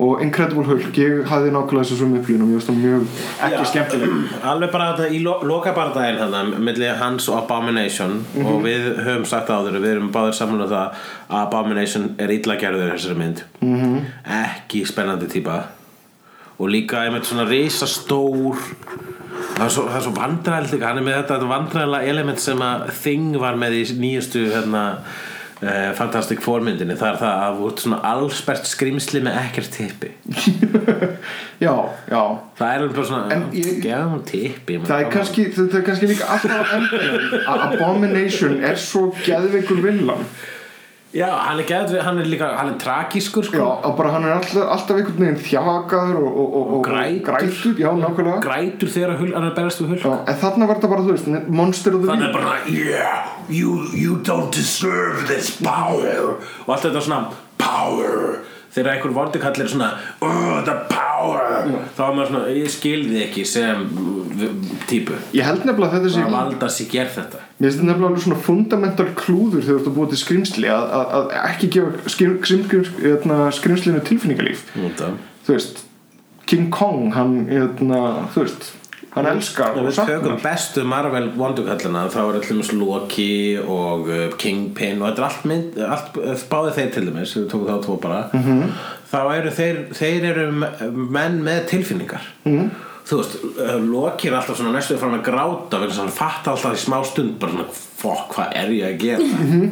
C: og Incredible Hulk, ég hafði nákvæmlega þessu svona upplýðin og ég veist það mjög ekki skemmtileg
D: Alveg bara þetta í lo lokabardaginn hann, milli hans og Abomination
C: Mhm.
D: og við höfum sagt það áður, við erum báðir saman um það að Abomination er illa gerður í þessari mynd.
C: Mhm.
D: -hmm. Ekki spennandi típa. Og líka einmitt svona risastór, það er svo, það er svo vandræðilegt líka, hann er með þetta, þetta vandræðilega element sem að Thing var með í nýjastu hérna, Uh, Fantastic Four myndinni það er það að þú ert svona allsbært skrýmsli með ekkert tippi
C: já, já,
D: Það er alveg bara svona
C: En ég-
D: Gefum hún tippi maður.
C: það er kannski þetta er kannski líka alltaf á endanum að Abomination er svo geðveikur villan
D: Já, hann er, geð, hann er líka Hann er tragískur
C: já,
D: sko
C: og bara hann er alltaf, alltaf einhvern veginn þjakaður og, og, og, og
D: grætur.
C: grætur já, nákvæmlega
D: Grætur þegar hul, hann er að berast við
C: Já,
D: hulk
C: en þarna var þetta bara, þú veist, Monster of the
D: Þannig
C: Week
D: er bara Yeah, you, you don't deserve this power Og allt þetta svona Power Þegar einhver vortikallir er svona oh, The power Þá er maður svona Ég skilði ekki sem uh, Típu
C: Ég held nefnilega að þetta sé
D: Það valda sig ger þetta
C: Mér finnst þetta nefnilega alveg svona fundamental klúður þegar þú ert að búa til skrimsli að, að, að ekki gefa skrim, skrim, skrim, hérna, skrimslinu tilfinningalíf
D: Þetta
C: Þú veist, King Kong, hann, hérna, þú veist, hann elskar
D: Ef
C: og
D: við tökum
C: saknar
D: bestu Marvel vondukallina þá er allir mjög Loki og uh, Kingpin og þetta er allt, mynd, allt eh, báði þeir til dæmis, við tókum þá tvo bara -hmm. þá eru þeir, þeir eru m- menn með tilfinningar -hmm. þú veist, eh, Loki er alltaf svona næstu frá hann að gráta vegna þess að hann fatta alltaf í smá stund bara svona, fokk, hvað er ég að gera -hmm.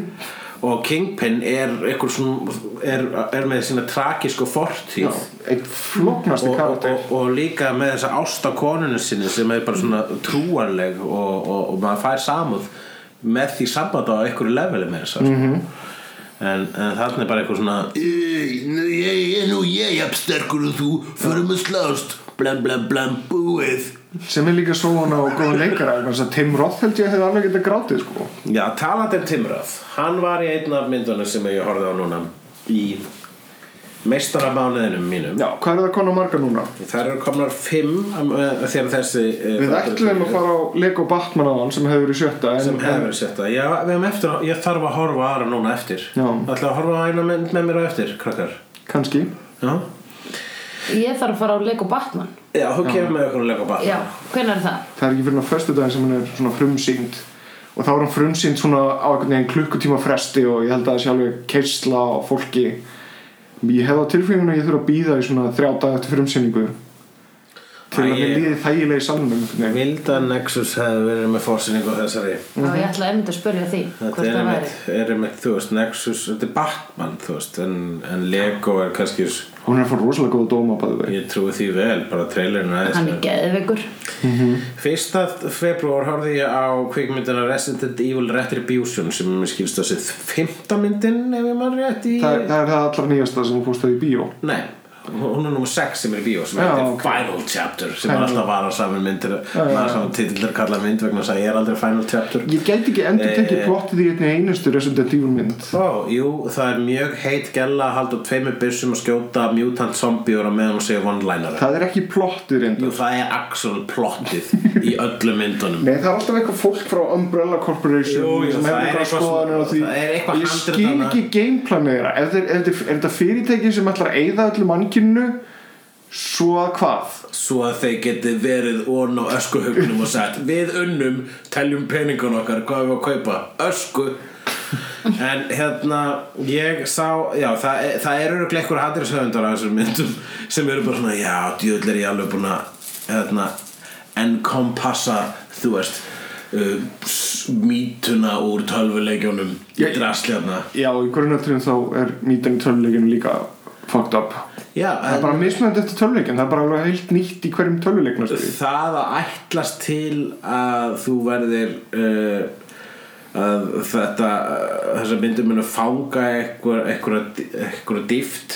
D: og Kingpin er, einhver svona, er, er með sína tragísku fortíð
C: Eitt flóknasti
D: og, og,
C: karakter
D: og, og líka með þessa ást á konunum sinni sem er bara svona trúarleg og, og, og maður fær samúð með því samband á einhverju leveli með þess mm
C: Mhm.
D: -hmm. en, en þannig er bara eitthvað svona
G: Ég, ég, ég, nú ég er jafn sterkur og þú förum að slást
D: Blam, blam, blam, búið
C: sem er líka svo hana og góð leikara vegna þess að Tim Roth held ég hefði alveg getað grátið sko.
D: Já, talandi um Timröð Hann var í einn af myndunum sem ég horfði á núna Í meistaramánuðinum mínum
C: Já, hvað er það konar marga núna?
D: Þær eru komnar fimm um, uh, þegar þessi uh,
C: Við ætlum að fara á Lego Batman á hann sem hefur verið sjötta en,
D: sem hefur sett það Já, við hefum eftir, á- ég þarf að horfa á aðra núna eftir
C: Já.
D: Ætla að horfa á eina mynd með mér á eftir, krakkar
C: Kanski
D: Já,
F: Ég þarf að fara á Lego Batman
D: Já þú kemur með okkur að leika bara
F: Ah. Já, hvenær er það?
C: Það er ekki fyrir að föstu daginn sem hann er svona frumsýnd og þá er hann frumsýnd svona á einhvern veginn klukkutíma fresti og ég held að það sé alveg keisla á fólki Ég hef á tilfenginu að ég þurfa að býða í svona þrjá dag eftir frumsýningu til
D: Æ,
C: að mér
D: ég-
C: líði þægilega í salnum einhvern veginn.
D: Vilda Nexus hefði verið með fórsynningu á þessari
F: Já, ég ætla einmitt að spyrja því
D: Þetta
F: hvort
D: er
F: það væri
D: einmitt, er einmitt, þú veist, Nexus, þetta er Batman, þú veist, en, en Lego er kannski, s-
C: Hún er að fá rosalega góða dóma bæði veginn
D: ég trúi því vel, bara trailerinn aðeins.
F: Hann er geðveikur
D: Fyrsta februar horfði ég á kvikmyndina Resident Evil Retribution sem mér skilst að sér fymta myndin ef ég mann rétt í...
C: Það er það, er það allra nýjasta sem hún fórst að í bíó
D: Nei, hún er nummer 6 sem er í bíó sem
C: Já,
D: heitir
C: ok.
D: Final Chapter sem er alltaf var á saman myndir, var á saman titlar kallað mynd vegna þess að ég er aldrei Final Chapter.
C: Ég gæti ekki endur tekið
D: Eh.
C: plottið í einni einustu Resident Evil mynd
D: Ó, jú, það er mjög heit gæla að halda upp tveimur byssum og skjóta mutant zombiur á meðan hún segja one-liner
C: Það er ekki plottið reynda
D: Jú, það er actual plottið í öllum myndunum
C: Nei, það er alltaf eitthvað fólk frá Umbrella Corporation
D: Jú, jú,
C: sem
D: það
C: hefur eitthvað
D: er eitthvað
C: skoðanir á því
D: það er eitthvað
C: Ég
D: handrit
C: skil
D: þarna.
C: ekki gameplanið þeirra Ef þeir- ef þeir- er þetta fyrirtæki sem ætlar að eyða öllu mannkynnu svo að hvað?
D: Svo að þeir geti verið orn á öskuhugnum og sagt Við unnum, teljum peningun okkar, hvað er við að kaupa? Ösku En hérna, ég sá, já, það, er- það eru örugglega einhver hatirisöfundar á þessum myndum sem eru bara svona, já, djöðl er ég alveg búin að, hérna, enkompassa, þú veist, uh, s- mítuna úr hérna." tölvuleikjónum í
C: Ég-
D: drastljarna.
C: Já, í grunnatriðum þá er nýtan í töluleikinu líka fucked up
D: Já,
C: Það er bara mismunandi eftir töluleikin það er bara alveg heilt nýtt í hverjum töluleikinu
D: það að ætlast til að þú verðir uh, að þetta uh, þessar myndir munu fanga einhver- einhverja einhverja dýft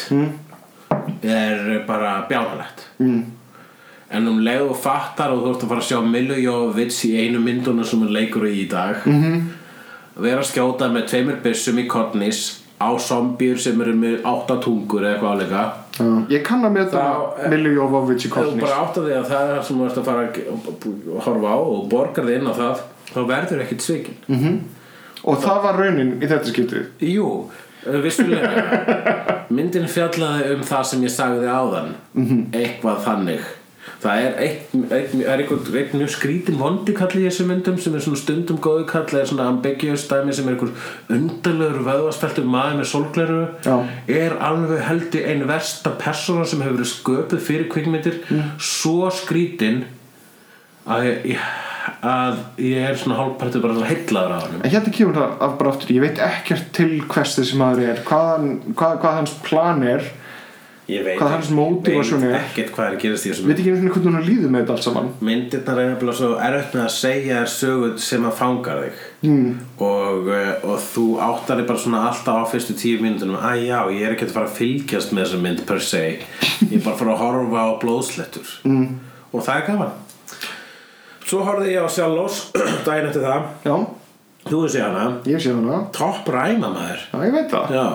D: er bara bjánalegt mm. en um leið og fattar og þú ert að fara að sjá Milo Jovovits í einu myndunum sem hún leikur í í dag mm -hmm. vera að skjóta með tveimur byssum í kornis á zombjur sem eru með átta tungur eða eitthvað áleika
C: Ég kann að meta
D: Þá-
C: Milju Jovovich í
D: Ef þú
C: kostnís
D: bara átt að því að það er það sem þú ert að fara að ge- horfa á og borgar þig inn á það þá verður ekkit svikin
C: og það var raunin í þetta skiptið
D: Jú, eh, vissulega myndin fjallaði um það sem ég sagði áðan eitthvað þannig það er eitt, eitt, er eitthvað, eitt mjög skrítin vondi kall í þessu myndum sem er svona stundum góðu kall eða svona ambiguous dæmi sem er einhver undarlegur vöðvaspeltum maður með sólgleru
C: Já.
D: er alveg held í ein versta persóna sem hefur verið sköpuð fyrir kvikmyndir svo skrítin að ég, að ég er svona hálfpartur bara heitlaður á hann
C: En hérna kemur það af bara aftur, ég veit ekkert til hvers þessi maður er, hvað, hvað, hvað hans plan er,
D: ég veit,
C: Hvað hans motivation
D: veit
C: er.
D: ekkert hvað er að gerast í þessum
C: veit ekki einhvern veginn hvernig hún líður með þetta allt saman.
D: myndirnar er nefnilega svo erfitt með að segja þér sögut sem að fangar þig mm.
C: Hmm.
D: og, eh, og þú áttar þig bara svona alltaf á fyrstu tíu myndunum að já, ég er ekki að fara að fylgjast með þessa mynd per se, ég er bara að fara að horfa á blóðslettur
C: Hmm.
D: mm. og það er gaman svo horfði ég á Sjálfs daginn eftir það,
C: Já,
D: þú veist ég hana
C: ég sé hana,
D: topp ræma maður
C: já ég veit það.
D: já,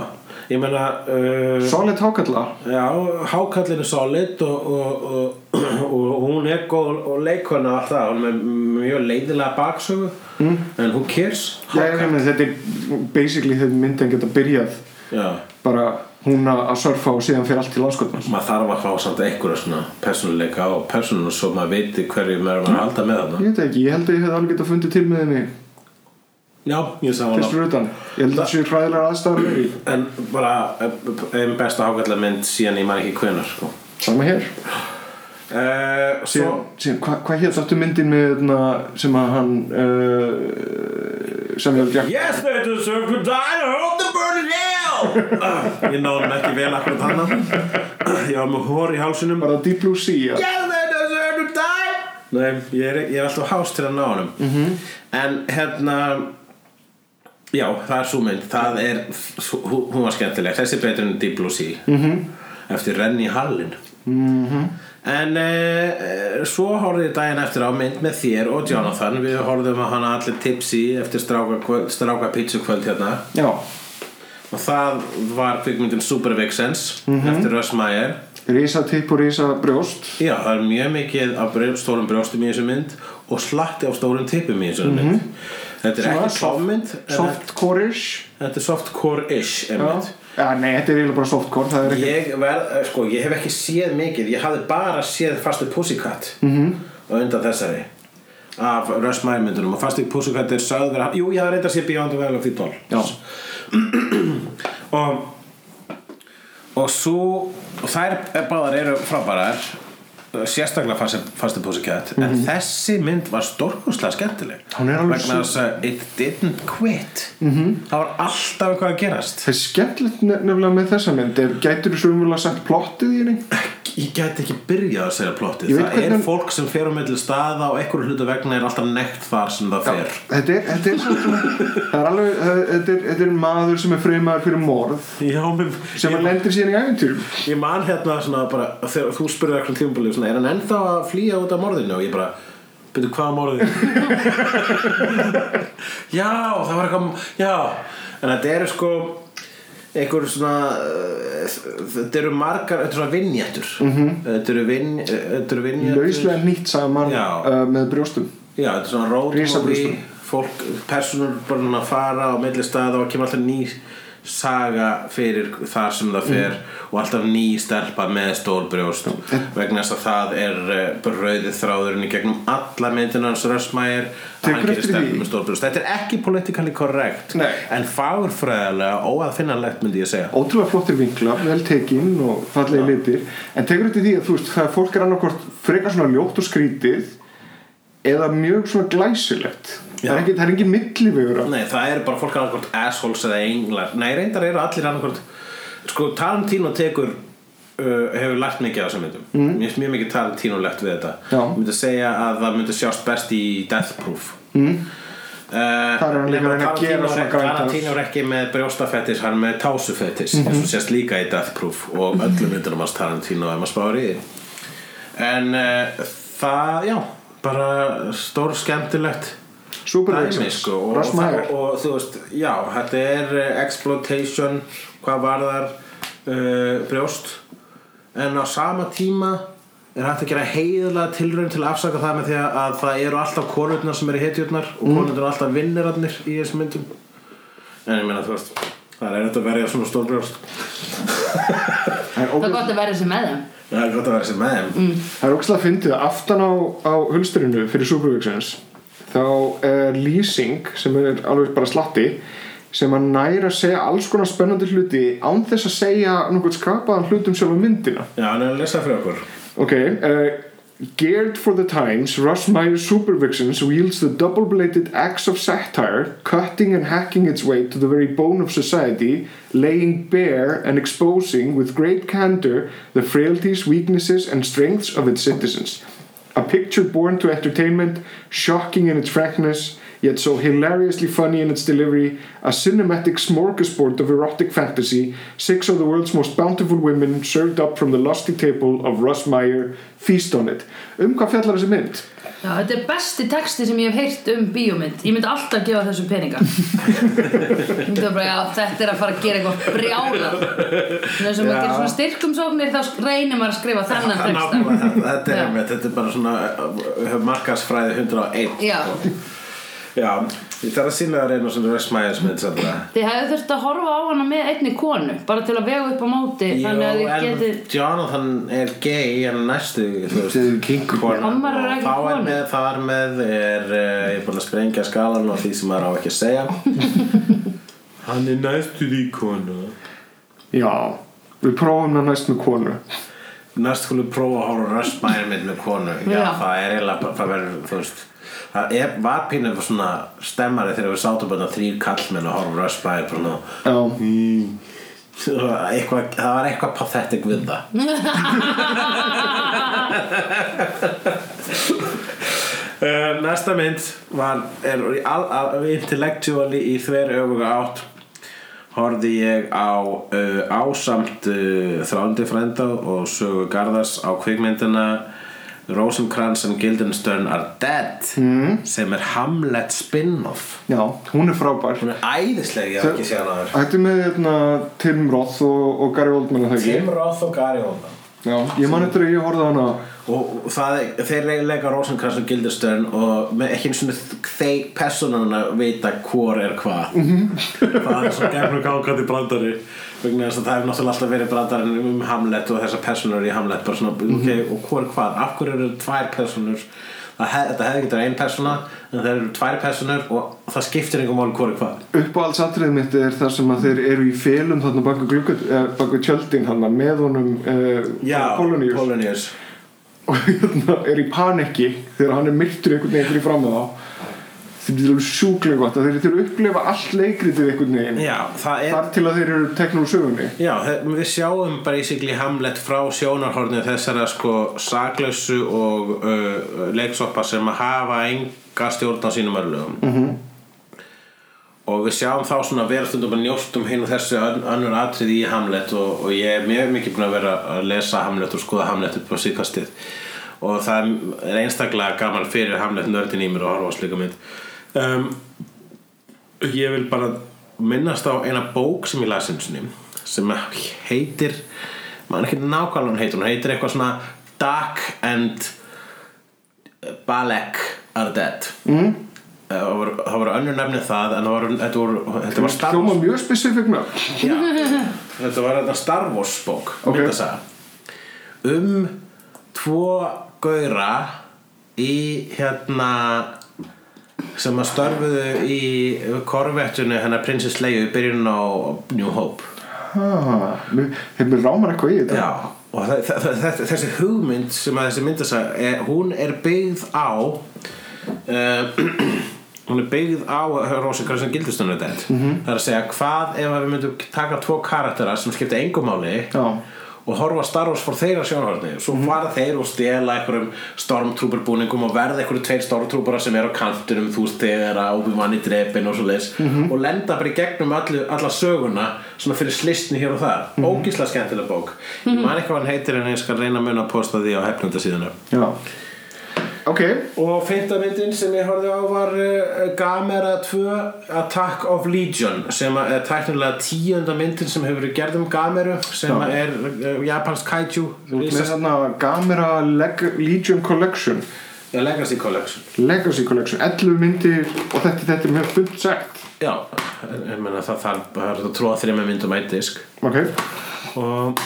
D: ég meina uh,
C: Solid hákalla,
D: Já, hákallin er solid og, og, og, og hún er góð og leikona og allt það, hún er með mjög leiðilega baksögu mm. en hún cares
C: já ég veit með þetta er basically þegar myndin geta byrjað,
D: Já,
C: bara hún að að surfa og síðan fyrir allt til landskotnars.
D: maður þarf að fá samt einhverja svona persónuleika og persónuna svo maður veit hverju maður er að halda með hana
C: Ég veit ekki, ég held að ég hef alveg getað fundið til með henni
D: Já, ég sá
C: fyrst
D: hana
C: fyrir utan. Ég held að það séu hræðilega aðstæður með því.
D: En bara einn besta hákallamynd síðan ég maður ekki hvenar sko.
C: Sama hér.
D: uh, Svo
C: síðan, síðan, hva, hvað hér þáttu myndin með þarna sem að hann uh, Samuel Jackson
D: Yes, they deserve to die and hope to burn in hell Ah, Ég náði hann ekki vel akkurat hann Ég var með hór í hálsunum
C: var það Deep Blue Sea ja?
D: Yes, they deserve to die Nei, ég er, ég er alltaf hást til að ná honum -hmm. En hérna Já, það er svo mynd Það er, hún hún var skemmtileg Þessi er betur en Deep Blue Sea -hmm. Eftir Renny Harlin mm -hmm. En e, svo horfði ég daginn eftir á mynd með þér og Jonathan Við horfðum á hana allir tipsi eftir stráka, kvöld- stráka pítsukvöld hérna
C: Já,
D: Og það var kvikmyndin Super Vixens eftir Russ Meyer
C: rísa tipp og rísa brjóst
D: Já, það er mjög mikið af brjó, stórum brjóstum í þessu mynd og slatti af stórum tippum í þessu mynd Þetta er ekki softmynd
C: Mhm. Soft core-ish
D: Þetta er softcore-ish
C: Já,
D: einmitt.
C: ja, nei, þetta er eiginlega bara softcore Það er ekki
D: Ég verð, eh, sko, ég hef ekki séð mikið Ég hafði bara séð fastu Pussycat
C: Mhm.
D: -hmm. og undan þessari af Russ Meyer myndunum og fastu Pussycat er sögð vera Jú, ég hafði reynda séð Beyond the Veil of the Doll
C: Já,
D: og og svo og þær er- báðar eru frábærar sérstaklega fast- fastu Pussycat en þessi mynd var stórkúslega skemmtileg
C: Mhm. Hún er alveg Mhm.
D: vegna
C: svo-
D: þess að it didn't quit -hmm. það var alltaf eitthvað að gerast
C: það er skemmtilegt nef- nefnilega með þessa mynd er, Gætur þú svumulega sett plottið í henni?
D: Ég gæti ekki byrjað að segja plottið
C: Ég veit
D: Það
C: hvernig-
D: er fólk sem fer á milli staða og einhverju hlutu vegna er alltaf nekt þar sem það fer
C: Þetta er, þetta er, svona, það er alveg það er- þetta er, þetta er maður sem er freymaður fyrir morð
D: Já, mér,
C: sem
D: ég,
C: hann lendir síðan í æventýrum
D: ég man hérna svona bara þegar þú spurði eitthvað tímabili svona, er hann ennþá að flýja út af morðinu og ég bara byrju hvað morðinu Já, það var eitthvað Já, en þetta eru sko einhverju svona eh, þetta eru margar, þetta eru svona vinnjættur -hmm. þetta eru vinn- eh, þetta eru vinnjættur
C: lauslega nýtt saman
D: Já.
C: uh, með brjóstum
D: Já, þetta er svona rótmóvi
C: Risabrústum.
D: fólk, personur bara svona að fara á milli staða og kemur alltaf ný saga fyrir þar sem það fer
C: Mm.
D: og alltaf ný stelpa með stór brjóst vegna þess að það er eh, bara rauðið þráðurinn í gegnum alla myndina hans Rössmægir að hann
C: Tekur
D: gerir
C: eftir því?
D: stelpa með stór brjóst Þetta er ekki politically correct
C: Nei.
D: en fagurfræðilega óaðfinnanlegt myndi ég segja
C: ótrúlega flottir vinklar, vel tekinn og fallegi litir en tekur þetta í því að þú veist það fólk er annarkvort frekar svona ljótt og skrítið eða mjög svona glæsilegt það er,
D: Já.
C: ekki, það er engin millivegur að
D: Nei, það eru bara fólk annarkvort assholes eða englar Nei, reyndar eru allir annarkvort Sko, Tarantino tekur uh, hefur lært mikið af þessum myndum mm. Mér finnst mjög mikið Tarantino lært við þetta
C: Já.
D: Ég myndi segja að það myndi sjást best í Death Proof mm. uh,
C: Þar er hann líka að reyna að gera svona grænt af-
D: Tarantino er ekki með brjóstafetis, hann er með tásufetis
C: Mhm.
D: eins og sést líka í Death Proof og öllum myndunum hans Tarantino ef maður spáir í því En uh, það, já, bara stór skemmtilegt dæmi
C: supervegsins,
D: sko og, og,
C: rasmæður
D: og þú veist, já, þetta er eh, exploitation, hvað varðar uh, brjóst en á sama tíma er hægt að gera heiðlega tilraun til að afsaka það með því að það eru alltaf konurnar sem eru hetjurnar og konurnar eru alltaf vinnirarnir í þessum myndum en ég meina þú veist það er þetta að verja svona stór brjóst
F: Það er gott að vera þessi með þeim
D: það er gott að vera sem með þeim mm.
C: það er ókslega fyndið að aftan á, á hulsturinu fyrir supervegsins þá er lýsing sem er alveg bara slatti sem að næra að segja alls konar spennandi hluti án þess að segja nokkuð skrapaðan hlut um sjálfa myndina
D: já, hann er að lesa fyrir okkur
C: Ok, uh, geared for the times, Russ Meyer's Supervixens wields the double-bladed axe of satire, cutting and hacking its way to the very bone of society, laying bare and exposing with great candor the frailties, weaknesses, and strengths of its citizens. A picture born to entertainment, shocking in its frankness, yet so hilariously funny in its delivery, a cinematic smorgasbord of erotic fantasy, six of the world's most bountiful women served up from the lusty table of Russ Meyer, feast on it. Um hvað fjallar þessi mynd?
F: Já, þetta er besti texti sem ég hef heyrt um bíómynd Ég myndi alltaf gefa þessu peninga Ég myndi bara, já, þetta er að fara að gera eitthvað brjála Þessum að gera svona styrkumsóknir þá reynir maður að skrifa þennan texta
D: Nákvæmlega, þetta
F: Já.
D: er, þetta er bara svona eh, markarsfræði 101
F: Já,
D: Já, ég þarf að sína það reyna svona Vestmæðis mynd sannlega
F: þið hefðu þurft að horfa á hana með einni konu bara til að vega upp á móti
D: Jó,
F: þannig að þið
D: en
F: getið
D: Jonathan er gay en næstu, þú veist
C: Þetta er kinkur.
D: konan.
F: Amma er
D: Og
F: ekki
D: þá
F: kona.
D: er með, þar með er, uh, ég er búin að sprengja skalan og því sem maður á ekki að segja Hann er næstu því konu
C: Já, við prófum það næst með konu.
D: Næst skulum prófa að horfa röstmæri mynd með konu Já,
F: Já.
D: það er eiginlega, bara- það verður, þú veist Það er, var pínum svona stemmari þegar við sátum bara þrýr kallmenn að horfa röstmæri bara svona
C: Já,
D: Það var eitthvað, það var eitthvað pathetic við það Eh, Næsta mynd var, er í al, al, intellectually í þver öfuga átt horfði ég á uh, ásamt uh, þrándi frænda og sögu Garðars á kvikmyndina Rosenkrantz and Guildenstern are dead mm. sem er Hamlet spin-off
C: Já, hún er frábær
D: hún er æðisleg ég hef ekki séð hana þar
C: Þetta er með hérna, Tim Roth og, og Gary Oldman er það ekki?
D: Tim Roth og Gary Oldman
C: Já, ég man eftir að ég horfði á hana
D: og það, þeir leika Rosenkrantz og Guildenstern og með ekki einu svona þeir personana vita hvor er hvað það er svo gefnur gákandi brandari vegna þess að það hefur náttúrulega alltaf verið brandarinn um Hamlet og þessar personur í Hamlet bara svona, ok, og hvor er hvað, af hverju eru tvær personur það hef, þetta hefði getur ein persona en það eru tvær personur og það skiptir einhver mál hvor er hvað
C: Uppáhaldsatriðið mitt er þar sem að þeir eru í felum þarna baku gluggat, eh, baku tjöldin hann með honum eh, Polonius
D: Polonius
C: og hérna er í panikki þegar hann er myrtur einhvern veginn fyrir fram að þá þeir eru sjúklega gott að þeir eru að upplifa allt leikritið einhvern veginn
D: Já, það er
C: þar til að þeir eru teknur úr sögunni
D: Já, þe- við sjáum basically Hamlet frá sjónarhornu þessara sko saklausu og uh, leiksoppa sem hafa enga stjórn á sínum örlögum -hmm. og við sjáum þá svona verðstundum að njóstum hinn og þessu ön- önnur atrið í Hamlet og, og ég er mjög mikið búin að vera að lesa Hamlet og skoða Hamlet upp á síðkastið og það er einstaklega gaman fyrir Hamlet nördin í mér og horfa á slíka mynd um, Ég vil bara minnast á eina bók sem ég las einsinni sem heitir maður ekki nákvæmlega hún heitir hún heitir eitthvað svona Dark and Balek are dead mm. það voru- það voru önnur nefni það en það voru, þetta voru þetta var Star
C: hljóma
D: Wars
C: mjög spesifíkna
D: Já. þetta var þetta Star Wars bók
C: Ok.
D: myndasaga. um tvo gauðra í hérna sem að störfuðu í korvettunni hennar prinsess Leia í byrjun á New Hope
C: þeir mér rámar eitthvað í þetta
D: Já, og þe- þe- þe- þe- þessi hugmynd sem að þessi myndasag er, hún er byggð á uh, hún er byggð á Rósinkar sem gildistunum þetta mm
C: Mhm.
D: -hmm. það er að segja hvað ef að við myndum taka tvo karaktera sem skipta engum máli
C: Já.
D: og horfa á Star Wars fór þeirra sjónhörni svo fara þeir og stela einhverjum stormtrooper búningum og verða einhverju tveir stormtroopera sem eru á kantinum þú veist þegar að Obi-Wan í drepin og svo leis og lenda bara í gegnum allu, alla söguna svona fyrir slistni hér og þar mm ógíslega skemmtileg bók ég man ekki hvað hann heitir en ég skal reyna að muna að posta því á hefnundasíðunum
C: Já. ok,
D: og fynda myndin sem ég horfði á var uh, Gamera 2 Attack of Legion sem að er tæknilega tíunda myndin sem hefur verið gerð um Gameru sem
C: Já.
D: að er uh, japansk kaiju
C: þú ert með
D: Risa-
C: þarna Gamera Leg Legion Collection
D: Já, Legacy Collection
C: Legacy Collection, 11 myndir og þetta, þetta er mjög fullt sagt
D: Já, ég meina það þarf það er hægt að tróða þrjum myndum eitt disk
C: ok,
D: og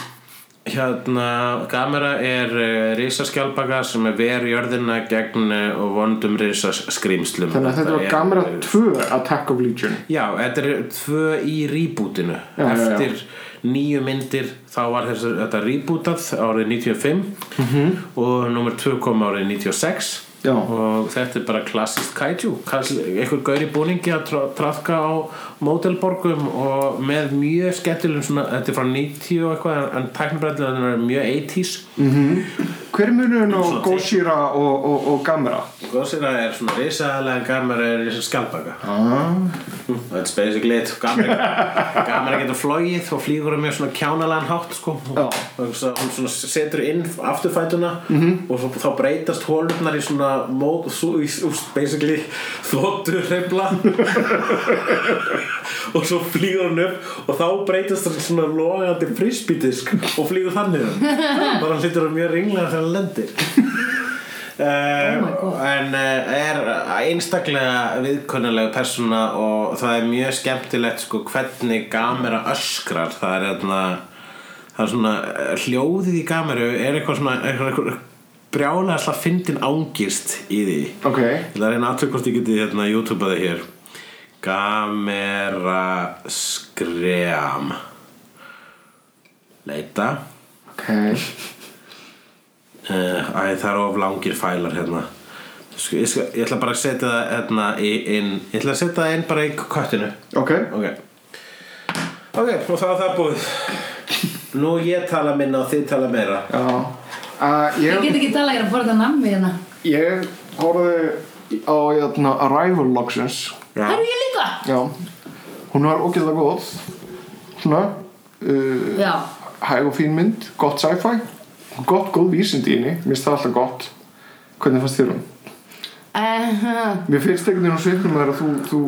D: hérna Gamera er uh, risaskjálpaka sem er veru jörðina gegn uh, vondum risaskrimslum
C: þannig að þetta var
D: er-
C: Gamera 2 Attack of Legion
D: Já, þetta er tvö í rebootinu
C: Já, já, já.
D: eftir nýju myndir þá var þessi, þetta rebootað árið 95 -hmm. og nummer tvö kom árið 96
C: Mhm. Já.
D: og þetta er bara klassist kaiju Kalli- einhver gaur í búningi að tra- trafka á mótelborgum og með mjög skemmtilegum svona, þetta er frá 90 og eitthvað en- en tæknibræðlega er mjög 80s
C: hver er munurinn á
D: Svona
C: Gojira og, og, og Gamera?
D: Godzilla er svona risaðalega gamera er risa skjálpaka ah. That's basically it Gamera, gamera getur flogið og flýgur um mjög svona kjánalan hátt sko.
C: Já.
D: og svo, hún svona setur inn afturfætuna og svo, þá breytast hólurnar í svona mót, svo, í, úr, basically þóttu reyfla og svo flýgur hún upp og þá breytast það í svona logandi frisbydisk og flýgur þannig um bara hann lítur um mjög ringlega þegar hann lendir Uh, en uh, er einstaklega viðkunnulegu persóna og það er mjög skemmtilegt sko hvernig gamera öskrar það er hérna það er svona eh, hljóðið í gameru er eitthvað svona eitthvað, eitthvað brjálega alltaf fyndin ángist í því
C: ok,
D: Það er einn aðtökk hvort ég geti hérna YouTube-aði hér Gamera skream Leita
C: ok
D: uh, Æ, það eru of langir fælar hérna Sk- Ég, skal, ég ætla bara að setja það hérna í, inn Ég ætla að setja það inn bara í köttinu
C: ok,
D: Ok Ok, og það var það búið Nú ég tala minna og þið tala meira
C: já uh,
F: Ég
C: ég,
F: get ekki talað, ég er að borða nammi hérna
C: ég horfði á hérna, Arrival Logsins
F: Herru ég líka
C: já, hún var ógeðlega góð svona uh,
F: já,
C: hæg og fín mynd, gott sci-fi gott, góð vísindi í henni, mér finnst það alltaf gott hvernig fannst þér hún?
F: uh,
C: Mér finnst einhvern veginn á svipnum þar að þú, þú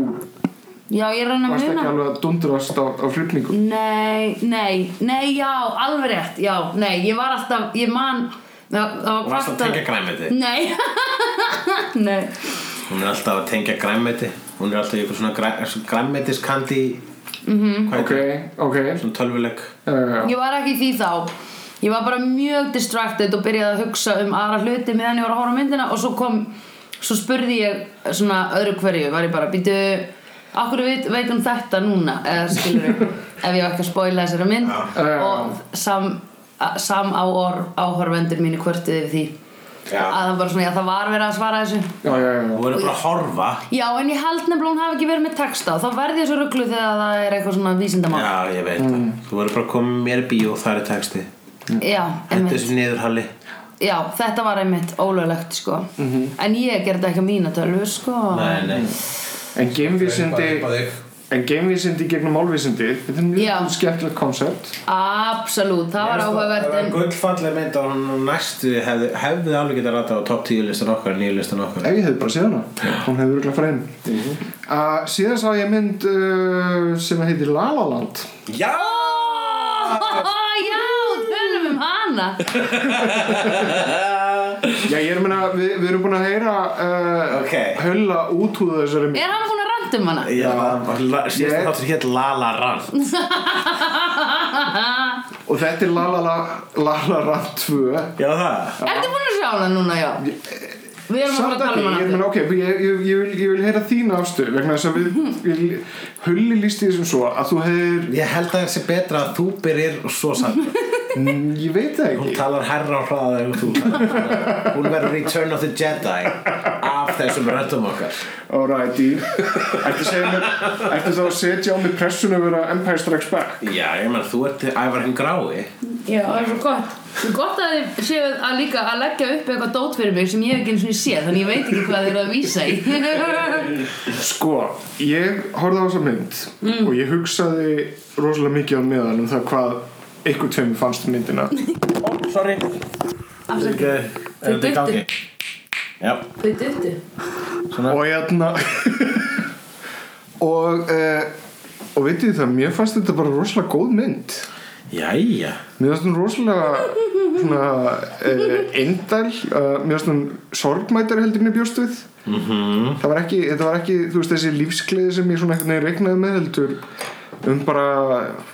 F: já, ég er hann að
C: varst ekki
F: muna
C: alveg að dundrast á, á hrifningu
F: Nei, nei, nei, já, alveg rétt, já, nei, ég var alltaf, ég man það- það var
D: Hún er alltaf að
F: kvartað-
D: tengja grænmeti
F: Nei, nei,
D: Hún er alltaf að tengja grænmeti Hún er alltaf í eitthvað svona græ, grænmetiskandi mm -hmm. Hvað
C: Ok,
D: heitir það?
C: ok
D: Svona tölvuleg
C: uh,
F: ég var ekki í því þá Ég var bara mjög distracted og byrjaði að hugsa um aðra hluti meðan ég var að horfa á myndina og svo kom, svo spurði ég svona öðru hverju, var ég bara, býtu, akkur veit, veit um þetta núna, eða skilur ef ég var ekki að spoila þessari mynd
C: Já.
F: og sam, a- sam á orð áhorfendur mínu kvörtuði við því. að
D: Já
F: það bara svona, já það var verið að svara þessu
C: Já, já, já, já.
D: Hún er bara að horfa
F: já en ég held nefnilega hún hafi ekki verið með texta þá verði ég svo rugglu þegar það er eitthvað svona vísindamál
D: Já, ég veit það Þú verður bara að koma með mér í bíó og það er texti
F: já,
D: Þetta er
F: einmitt
D: þessi niðurhalli
F: já, þetta var einmitt ólöglegt sko en ég gerði ekki á mína tölvu sko
D: Mhm. Nei, nei
C: En geimvísindi En geimvísindi gegnum málvísindi Þetta er
F: Já.
C: mjög skemmtilegt koncept
F: absolutt, það var áhugavert
D: Það var
F: en
D: gullfalleg mynd og hann næstu hefði, hefði alveg getað rata á topp 10 listan okkar, nýju listan okkar
C: Ef ég hefði bara séð hana Hún hefði örgulega farið inn uh, Síðan sá ég mynd uh, sem heitir La La Land
D: Já!
F: já, tölum um hana
C: Já, ég er að meina, við, við erum búin að heyra uh,
D: Ok.
C: Hölla út úr þessari mynd
F: er hann búin að randa um hana?
D: Já, síðast
C: Ég-
D: þáttur hétt Lala Rand
C: Og þetta er La La La La La Land 2
D: Já, það
F: ertu búin að sjá hana núna, já við erum að fara
C: Samt
F: að tala
C: ekki,
F: um
C: ég,
F: hana
C: menn,
F: aftur.
C: ok, ég, ég, ég, vil, ég vil heyra þína afstöð vegna þess að við, við hulli lísti þessum svo að þú hefur
D: Ég held að það sé betra að þú byrjir og svo samt
C: mm, ég veit það
D: Hún
C: ekki
D: talar herra og hraða en þú Hún verður Return of the Jedi af þessum röndum okkar
C: alrighty ertu, að segja mér, ertu þá að setja á mig pressun að vera Empire Strikes Back
D: Já, ég menn, þú ert ævar hinn grái
F: Já, það er svo gott Svo gott að þið séu að líka að leggja upp eitthvað dót fyrir mig sem ég hef ekki eins og ég sé þannig ég veit ekki hvað þið eru að vísa í
C: sko, ég horfði á þessa mynd
F: Mm.
C: og ég hugsaði rosalega mikið á meðan um það hvað ykkur tveimur fannst um myndina
D: Ó, sorry
F: Afsakið.
D: Er þetta í gangi? Já,
F: Þau duttu
C: og hérna og uh, og veitir það, mér fannst þetta bara rosalega góð mynd
D: jæja
C: Mér finnst hún rosalega svona uh, eindæl uh, mér finnst hún sorgmætari heldur en ég bjóst við
D: Mhm.
C: -hmm. það var ekki, þetta var ekki þú veist þessi lífskleiði sem ég svona einhvern veginn regnaði með heldur um bara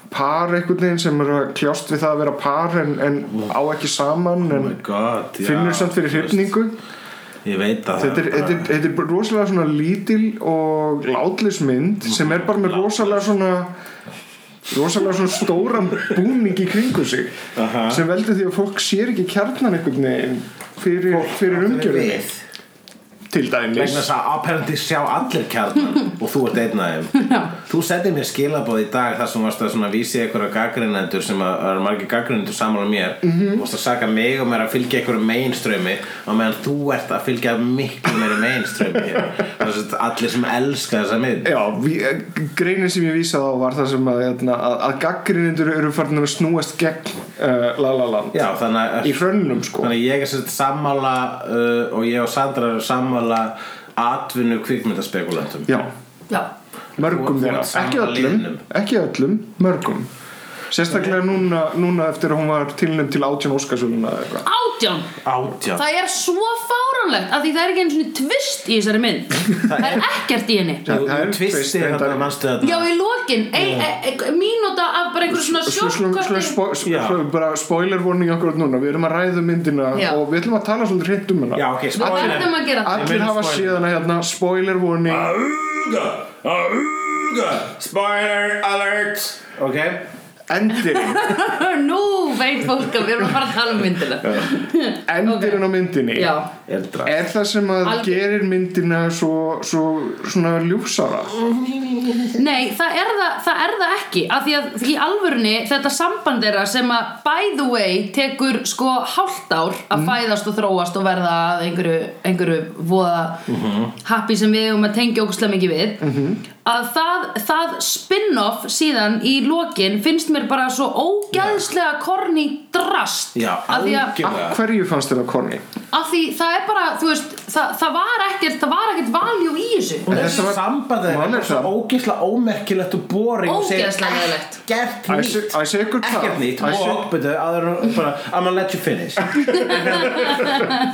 C: par einhvern veginn sem er að kljást við það að vera par en, en á ekki saman en
D: Mm. Oh God, já,
C: finnur samt fyrir
D: þú veist,
C: hrifningu
D: Ég veit að
C: þetta er, þetta, er, þetta er rosalega svona lítil og látlis mynd sem er bara með rosalega svona rosalega svona stóran búning í kringu sig
D: Aha.
C: sem veldur því að fólk sér ekki kjarnan einhvern veginn fyrir, fyrir umgjörðinni
D: Við.
C: til
D: vegna
C: dæmis
D: þess að apparently sjá allir kjarnan og þú ert einn af þeim þú settir mér skilabóð í dag þar sem varst að svona vísi einhverja gaggrinendur sem að það eru margir gaggrinendur saman á mér mm -hmm. varst að saka mig um er að fylgja einhverju mainströmi og meðan þú ert að fylgja miklu meiri mainströmi hér. Þess að allir sem elska þessa mynd
C: Já, vi- eh, greinin sem ég vísaði á var það sem að, hérna, að, að gaggrinendur eru farin að snúast gegn uh, La La Land
D: Já, þannig að
C: í hrönnum sko
D: Þannig að ég er sérst sammála uh, og ég og Sandra eru sammála atvinnu kvikmyndaspekulantum
C: Já,
F: Já,
C: mörgum
D: Þú- þú
C: þeirra,
D: ert saman
C: ekki öllum
D: liðnum.
C: ekki öllum, mörgum sérstaklega núna, núna eftir að hún var tilnum til átján Óskarsvöluna eða eitthvað
F: átján
D: Átján
F: Það er svo fáránlegt að því það er ekki einu sinni tvist í þessari mynd Það er ekkert í henni
D: Þú
C: Það er
D: þú tvistir
C: reyndar.
D: þetta mannstu þetta
F: Já, í lokin, ein, e, e, mínúta af bara einhver svona
C: Svo slum, slum,
F: sjokkkorti
C: spo,
D: Já.
C: slum, bara spoiler warning okkur núna Við erum að ræða myndina
F: Já.
C: og við ætlum að tala svolítið hreint um hana
D: Já, ok,
F: Við
D: spoiler.
F: verðum að gera það
C: Allir
D: Ég
C: hafa
D: mun spoiler.
C: síðan að hérna spoiler warning
D: Auga, auga, spoiler alert Ok
C: Endirinn,
F: Nú veit fólk að við erum að fara að tala um myndina
C: endirinn á myndinni
F: Já,
D: Eldra
C: Er það sem að
F: Algjör.
C: gerir myndina svo, svo svona ljúfsara
F: Nei, það er það, það er það ekki af því að í alvörunni þetta samband þeirra sem að by the way tekur sko hálft ár að fæðast og þróast og verða að einhverju, einhverju voða happy sem við um að tengja okkur slem ekki við að það, það spin-off síðan í lokin finnst mér bara svo ógeðslega korni drast
D: Já,
F: af því að
D: algjörlega.
C: Af hverju fannst þér að korni?
F: af því það er bara, þú veist það, það var ekkert, það var ekkert valjú í þessu
D: Og
C: En
D: þessi
C: þetta var-
D: samband er
C: Mál er
D: eitthvað svo
C: það.
D: ógeðslega ómerkilegt og boring og segir
F: Ógeðslega leiðinlegt.
D: Ekkert
C: I
D: nýtt
C: say- I say good time.
D: Ekkert nýtt
C: I say-
D: Og byrju, aður bara I'm gonna let you finish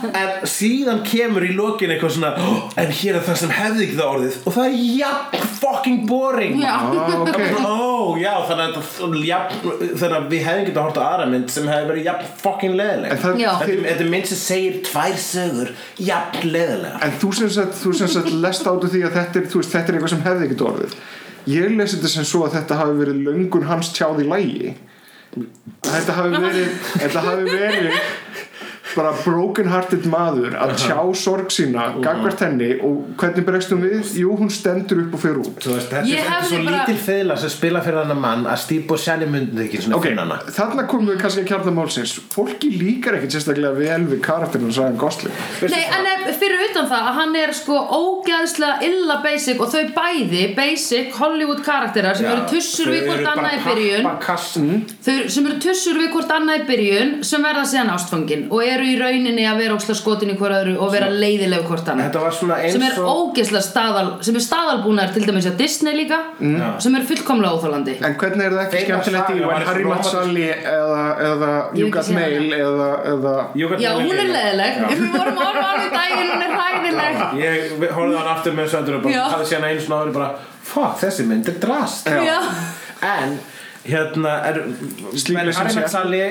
D: En síðan kemur í lokin eitthvað svona "Oh, En hér er það sem hefði ekki það orðið Og það er jafn fucking boring
F: Já.
C: Ah, ok.
D: Ó, já, þannig að, það- jafn, þannig að við hefðum getað að horta aðra mynd sem hefði verið jafn fucking leðileg
C: En það-
F: Já.
D: Þetta þetta er mynd sem segir tvær sögur jafn leðilega
C: En þú sem sagt, þú sem sagt lest át úr því að þetta er, þú veist, þetta er eitthvað sem hefði ekkert orðið. Ég lesi þetta sem svo að þetta hafi verið löngun hans tjáð í lægi. Þetta hafi verið, þetta hafi verið bara broken hearted maður að tjá sorg sína, gagvart henni og hvernig bregst hún við? Jú, hún stendur upp og fer út.
D: Þú veist, þetta
F: Ég
D: er þetta er
F: hefði
D: svo
F: bara-
D: lítil fiðla sem spila fyrir hann mann að Stíbo Sjæli myndi ekki svona
C: Ok,
D: finna hana
C: þarna komum við kannski að kjarna málsins. Fólki líkar ekkert sérstaklega vel við karakterinu Sæðan Gosling.
F: Nei, en ef- fyrir utan það að hann er sko ógæðslega illa basic og þau bæði basic Hollywood karakterar sem eru tussur við hvort annað í byrjun þau, eru- sem eru tussur við hvort annað í byrjun sem verða síðan ástfangin og eru í rauninni að vera ógæðslega skotin í hvort öðru og vera leiðileg hvort annað
D: Þetta var svona eins
F: sem er
D: og
F: ógeðslega staðal sem er staðalbúnar til dæmis að Disney líka
D: Mm. Já.
F: sem er fullkomlega óþálandi
C: En hvernig er það ekki
D: Eina
C: skemmtilegt
D: saga
C: í
D: var
C: When
D: eins og
C: Harry Met
D: Rómant-
C: Sally eða, eða
F: Ég
C: You
F: hef ekki
C: Got
F: séð
C: Mail eða, eða
D: Ég gat
F: Já,
D: alveg
F: hún er
D: verið-
F: leiðileg
D: Já.
F: Við vorum að orða hann í um daginn, hún er hræðileg
D: Ég við- horfði á hann aftur með söndur og
F: Já.
D: bara hafði síðan einu svona ári bara Fuck, þessi mynd er drast
F: Já.
D: En hérna er
C: Slík
D: Men
C: lesson
D: Harry
C: sé.
D: Matsali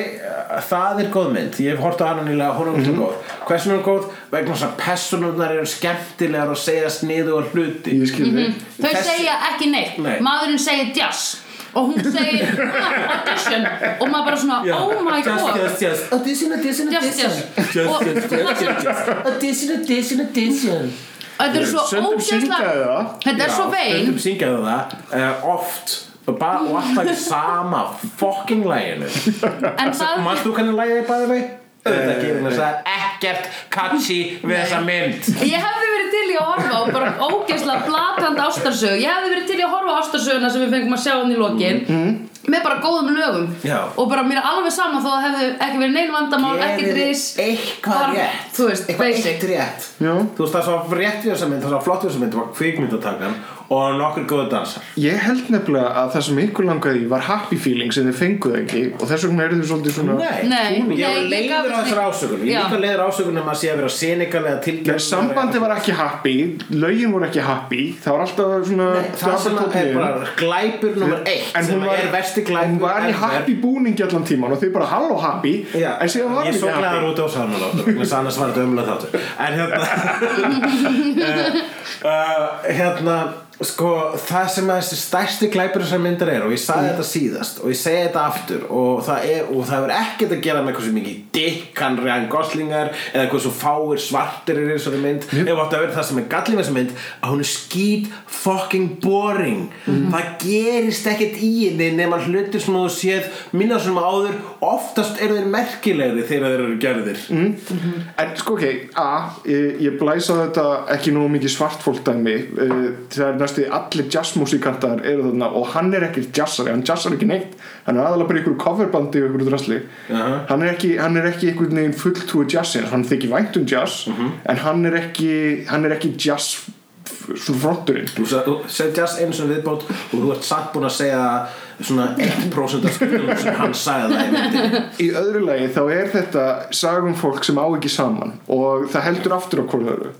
D: Það er góð mynd Ég hef hort á hana nýlega, hún er
C: Mhm.
D: mm góð Hversu er hún góð? Vegna þess að personurnar eru skemmtilegar og segja sniðu og hluti
C: Ég skil þig
F: Þau
D: Þessi-
F: segja ekki neitt
D: Nei.
F: Maðurinn segir jazz Og hún segir "Ah, audition Og maður bara svona,
D: Já.
F: oh my
D: Just,
F: god
D: just, just Audition, audition,
F: Just,
D: audition
F: just.
D: Just,
F: Og-
D: just, just, just, just Audition, audition, audition
F: Þetta er svo
C: Stundum
F: ógeðslega
C: syngja það.
F: Þetta er svo vein
D: Stundum syngjaðu það uh, Oft Og bara og alltaf í sama fucking læginu
F: En það
D: Manst þú hvernig lægið er bæðið mig? Auðvitað
C: Eh,
D: ekki, vegna þess að ekkert catchy við þessa mynd
F: Ég hefði verið til í að horfa á bara ógeðslega blatandi ástarsög Ég hefði verið til í að horfa á ástarsöguna sem við fengum að sjá hann í lokin
C: Mhm.
F: Með bara góðum lögum
D: Já.
F: Og bara mér er alveg sama þó að hefði ekki verið nein vandamál Ekki
D: Gerið
F: drís
D: eitthvað
F: Bara,
D: rétt
F: þú veist,
D: eitthvað
F: basic.
D: eitt rétt
C: Já.
D: Þú veist það er svo rétt í þessa mynd, það er svo flott í þessa mynd Það var kvikmyndatakan og nokkur góðu dansar
C: Ég held nefnilega að það sem ykkur langaði í var happy feeling sem þið fenguð ekki og þess vegna eru þið svolítið svona
D: Nei,
F: Nei,
D: ég
F: nei,
D: var
F: ég
D: leiður
F: gaf
D: á
F: þessu-
D: þessar ásökunum Ég
F: Já.
D: er líka leiður á ásökunum að sé að vera senikalega tilgjörn
C: Sambandi var ekki happy, lögin voru ekki happy Það var alltaf svona
D: Það sem að er bara glæpur nummer eitt
C: En
D: sem
C: hún var,
D: er versti
C: hún
D: glæpur
C: var í
D: ever.
C: happy búningi allan tíman og þið bara halló happy
D: Já,
C: en síðan var
D: Ég er
C: hún
D: svo
C: ekki
D: glæður
C: happy
D: út á sannalóttur Þannig að annars var þetta ömulega þáttur En hérna uh, Hérna Sko, það sem að þessi stærsti glæpur sem myndar er og ég sagði þetta síðast og ég segi þetta aftur og það er og það er ekkert að gera með hversu mikið dikkan Ryan Goslingar eða hversu fáir svartir er í þessari mynd ef átti að vera það sem er gallið með þessari mynd að hún er skýt fucking boring það gerist ekkert í henni nema hlutir sem þú séð minna sem áður oftast eru þeir merkilegri þegar þeir eru gerðir mm.
C: En sko ok, a, ég, ég blæsa þetta ekki nógu mikið svartfólkdæmi eh, það er næstu allir jazzmusikantar eru þarna og hann er ekki jazzari hann jazzar ekki neitt, hann er aðalega bara ykkur coverbandi og ykkur drasli
D: Jaha.
C: hann, er ekki, hann er ekki ykkur neginn fulltúi jazzins hann þykir vænt um jazz en hann er ekki, hann er ekki jazz f- svona frotturinn
D: þú sa- þú segir just einu sem viðbót og þú ert satt búin að segja svona 1% af skilum sem hann sagði það í myndinni.
C: Í öðru lagi þá er þetta sagum fólk sem á ekki saman og það heldur aftur á hvort öðru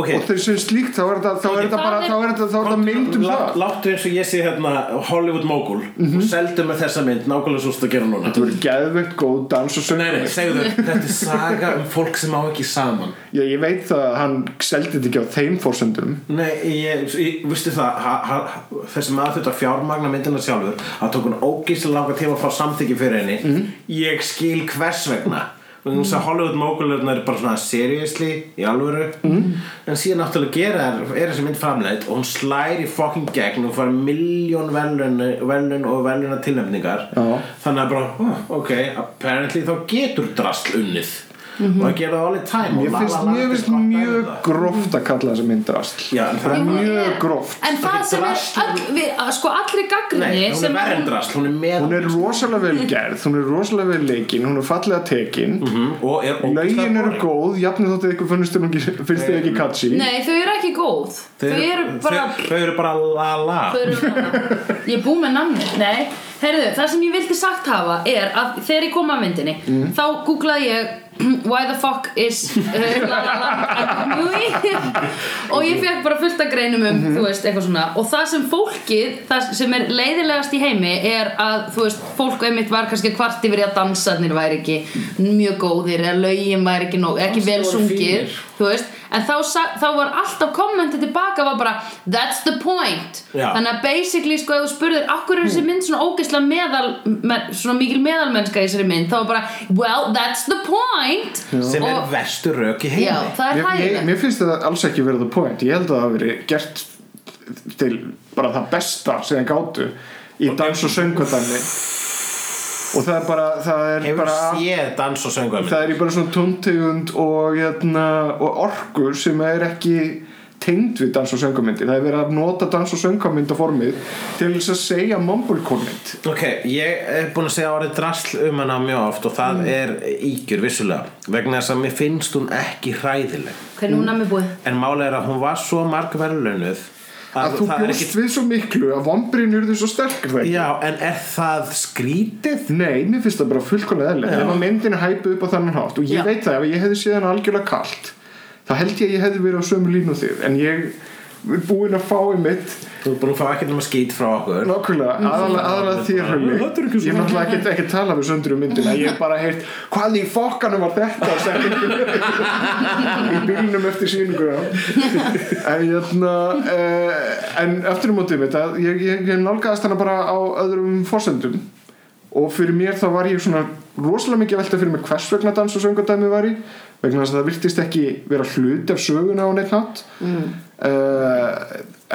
D: ok,
C: og þeir sem slíkt þá er þetta þá er þetta bara, þá er þetta, þá er þetta mynd um
D: Lá-
C: það Mhm.
D: láttu eins og ég sé hérna Hollywood mogul og seldu með þessa mynd nákvæmlega svo stu að gera núna
C: Þetta verður geðveikt góð dans og
D: Nei, nei,
C: söngur
D: segðu þau, þetta er saga um fólk sem á ekki saman
C: Já, ég veit það að hann seldi þetta ekki á þeim fórsöndum
D: Nei, ég, ég vistu það ha, ha, þessi maður þetta fjármagna myndina
C: Mhm.
D: sjálfur að tók hún ógíslega langa tíma að fá samþykki fyrir henni ég skil hvers vegna Þannig að Hollywood mogulurnar er bara svona seriously í alvöru
C: Mhm.
D: en síðan náttúrulega gera er, er þessi mynd framleitt og hún slær í fucking gegn og fara miljón velun, velun og veluna tilnefningar
C: Já.
D: þannig að bara, oh, ok, apparently þá getur drasl unnið og að gera það allir time
C: Mhm. Mér
D: og La La
C: finnst,
D: Land
C: mér
D: er
C: finnst
D: bara dæmi um
C: mjög
D: það.
C: gróft að kalla þessa mynd drast
D: Já, en það er
F: Jú, hún
C: mjög
F: er-
C: gróft.
F: En það
D: Ekki
F: sem er,
D: drasl.
F: öll, við, að sko allri gaggrinni
D: Nei, hún er
F: sem
D: verri en drasl, hún er með
C: Hún er rosalega vel gerð, hún er rosalega vel leikin, hún er fallega tekin
D: Mhm, og er
C: Lögin eru
D: ógeðslega boring.
C: góð, jafnir þóttið ykkur finnst þér ekki, finnst þér ekki catchy
F: Nei, þau eru ekki góð Þau, eru bara
D: þau, þau eru bara la la
F: Þau eru bara Ég er búið með namni Nei, heyrðu, það sem ég vildi sagt hafa er að þegar ég kom að myndinni þá googlaði ég Why the fuck is uh, La La Land a movie og ég fekk bara fullt að greinum um þú veist, eitthvað svona og það sem fólkið, það sem er leiðilegast í heimi er að, þú veist, fólk einmitt var kannski kvart yfir í að dansarnir væri ekki mjög góðir eða lögin væri ekki, nóg, ekki vel
D: voru
F: sungir
D: fínir.
F: þú veist, en þá, sa- þá var alltaf kommentið tilbaka var bara that's the point
D: Já. Hmm.
F: þannig að basically sko ef þú spurðir okkur er þessi mynd svona ógeðslega meðal me- svona mikil meðalmennska í þessari mynd þá var bara well that's the point
D: sem er
F: og,
D: verstu rauk í heimi
F: já, það er
C: Mér, mér,
F: hægilegt
C: mér finnst það alls ekki verið the point Ég held að það hafi verið gert til bara það besta sem þeir gátu í dans og söngvandamni og það er bara það er
D: hefur
C: bara
D: séð dans og söngvæmi
C: það er í bara svona tóntegund og, hérna, og orkur sem er ekki tengd við dans og söngvamindi það er verið að nota dans og söngvamindaformið til þess að segja mumblekomment
D: ok, ég er búin að segja orðið drasl um hana mjög oft og
F: Mm.
D: það er ígjur vissulega vegna þess að mér finnst hún ekki hræðileg
F: hvernig hún að mér búið
D: en málega er að hún var svo marg verðlunuð
C: að þú
D: það er
C: bjóst við svo miklu að vombrinn eru svo sterkur það ekki
D: já, en er það skrítið?
C: Nei, mér finnst það bara fullkomlega eðlega ef að myndin er hæpuð upp á þannig hátt og ég
F: Já.
C: veit það, ef ég hefði séð hann algjörlega kalt þá held ég að ég hefði verið á sömu línu og þig en ég er búinn að fá í mitt
D: þú er búin að fá ekkert um að skýt frá okkur
C: nákvæmlega, aðalega, aðalega þér höfni
D: Mm. Þetta er ekki
C: ég er náttúrulega ekki, ekki að tala við söndur um myndina ég hef bara heyrt, hvað í fokkanum var þetta sem í bílnum eftir sýninguna en jæna eh, en eftir um mótið mitt að ég, ég, ég nálgaðist hana bara á öðrum fórsendum og fyrir mér þá var ég svona rosalega mikið að velta fyrir mig hvers vegna dans og söngadæmi var í vegna þess að það virtist ekki vera hluti af söguna á neitt nátt mm.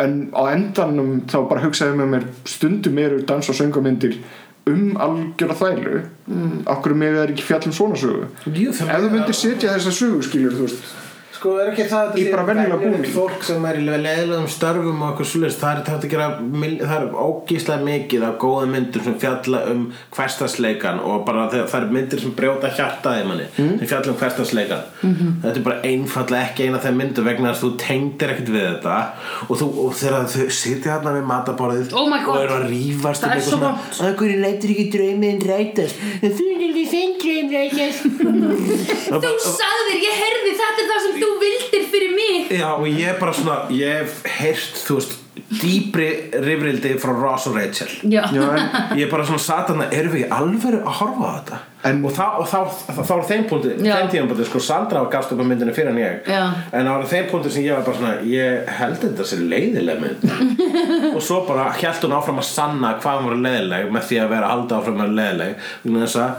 C: en á endanum þá bara hugsaði með mér stundum eru dans og söngamyndir um algjöra þælu mm. okkur með það er ekki fjallum svona sögu
D: Jú, það-
C: ef þú myndir setja þessa sögu skilur þú veist
D: Sko, er ekki það að
C: Í bara venjulega
D: venjulegt
C: búning.
D: fólk sem er í leðilegum störfum og eitthvað svolítið, það er tætt að gera mil- það er ógíslega mikið af góða myndir sem fjalla um hverstasleikan og bara það, það er myndir sem brjóta hjartaði manni,
C: Mm.
D: sem fjalla um hverstasleikan
C: Mhm.
D: þetta er bara einfallega ekki eina þegar myndir vegna þess að þú tengdir ekkert við þetta og, þú, og þegar þau sitja hérna við mataborðið
F: Oh my God.
D: og eru að rífast
F: Það
D: um
F: er
D: eitthvað
F: svo
D: svona,
F: vont.
D: "Af hverju lætur ekki drauminn rætast þú er ekki þinn draum rætast
F: þú sagðir, ég heyrði, þetta er það sem þú vildir fyrir mig
D: Já, og ég er bara svona, ég hef heyrt, þú veist, dýpri rifrildi frá Ross og Rachel.
F: já,
C: Já, en,
D: Ég er bara svona satana, erum við í alveg að horfa á þetta?
C: En-
D: og þá, og þá, þá, þá er þeim punkti,
F: Já.
D: þeim tíðan punkti, sko, Sandra gafst upp á myndinu fyrir en ég.
F: Já.
D: En það var þeim punkti sem ég var bara svona, ég held þetta sér leiðileg mynd. og svo bara held hún áfram að sanna hvað hún var leiðileg með því að vera að halda áfram að vera leiðileg. Þannig þess að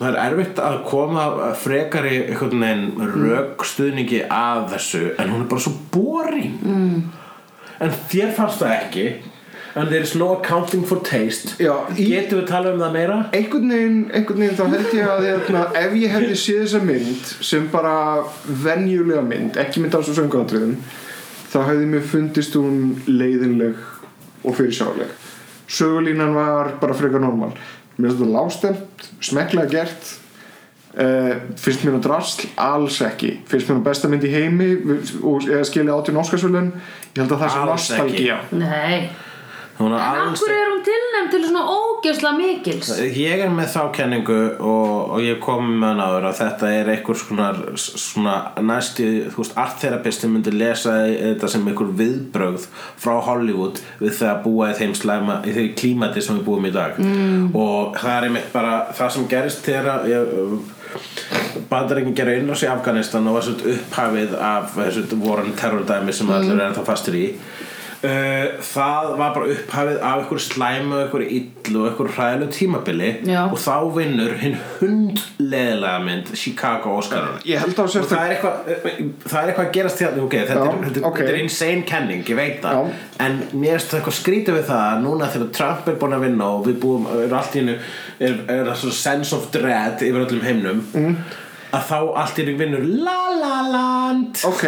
D: það er erfitt að koma frekari einhvern veginn rökstuðningi að þessu, en hún er bara svo boring. Mm. En þér fannst það ekki And there is no accounting for taste
C: Já, í-
D: Getum við talað um það meira?
C: einhvern veginn, einhvern veginn þá held ég að hérna, ef ég hefði séð þessa mynd sem bara venjulega mynd ekki mynd alls og sönguatriðum þá hefði mér fundist hún leiðinleg og fyrirsjáleg sögulínan var bara frekar normal mér finnst þetta lástemt, smekklega gert uh, finnst mér nú drasl alls ekki, finnst mér nú besta mynd í heimi og eða skilja átjón Óskarsvölun ég held að það sé
D: Alls ekki.
C: nostalgía
F: nei
D: Hún er
F: en
D: alls
F: akkur er hún tilnæmt til svona ógeðslega mikils
D: Ég er með þá kenningu og, og ég kom með hann áður að þetta er einhver svona, svona næsti, þú veist, artterapisti myndi lesa þetta sem einhver viðbrögð frá Hollywood við það að búa í þeim slæma, í þeim klímati sem við búum í dag mm. og það er einmitt bara það sem gerist þegar ég- Bandaríkin gera innrás í eh, Afganistan og var svolítið upphafið af þessu voran terrordæmi sem allir er ennþá fastur í Uh, það var bara upphafið af einhver slæmu, einhver illu og einhver hræðilegu tímabili
F: Já.
D: og þá vinnur hinn hundleðilega mynd Chicago Óskarana
C: Ég held að það sé
D: og það er eitthvað það er eitthvað að gerast hérna ok, þetta,
C: Já,
D: er, þetta,
C: ok.
D: okay. þetta er insane kenning, ég veit það
C: Já.
D: en mér erst eitthvað skrítið við það að núna þegar Trump er búin að vinna og við búum er allt í hennu, er, er það svo sense of dread yfir öllum heimnum
C: Mhm.
D: mm. að þá allt í hennu vinnur la la land
C: Ok,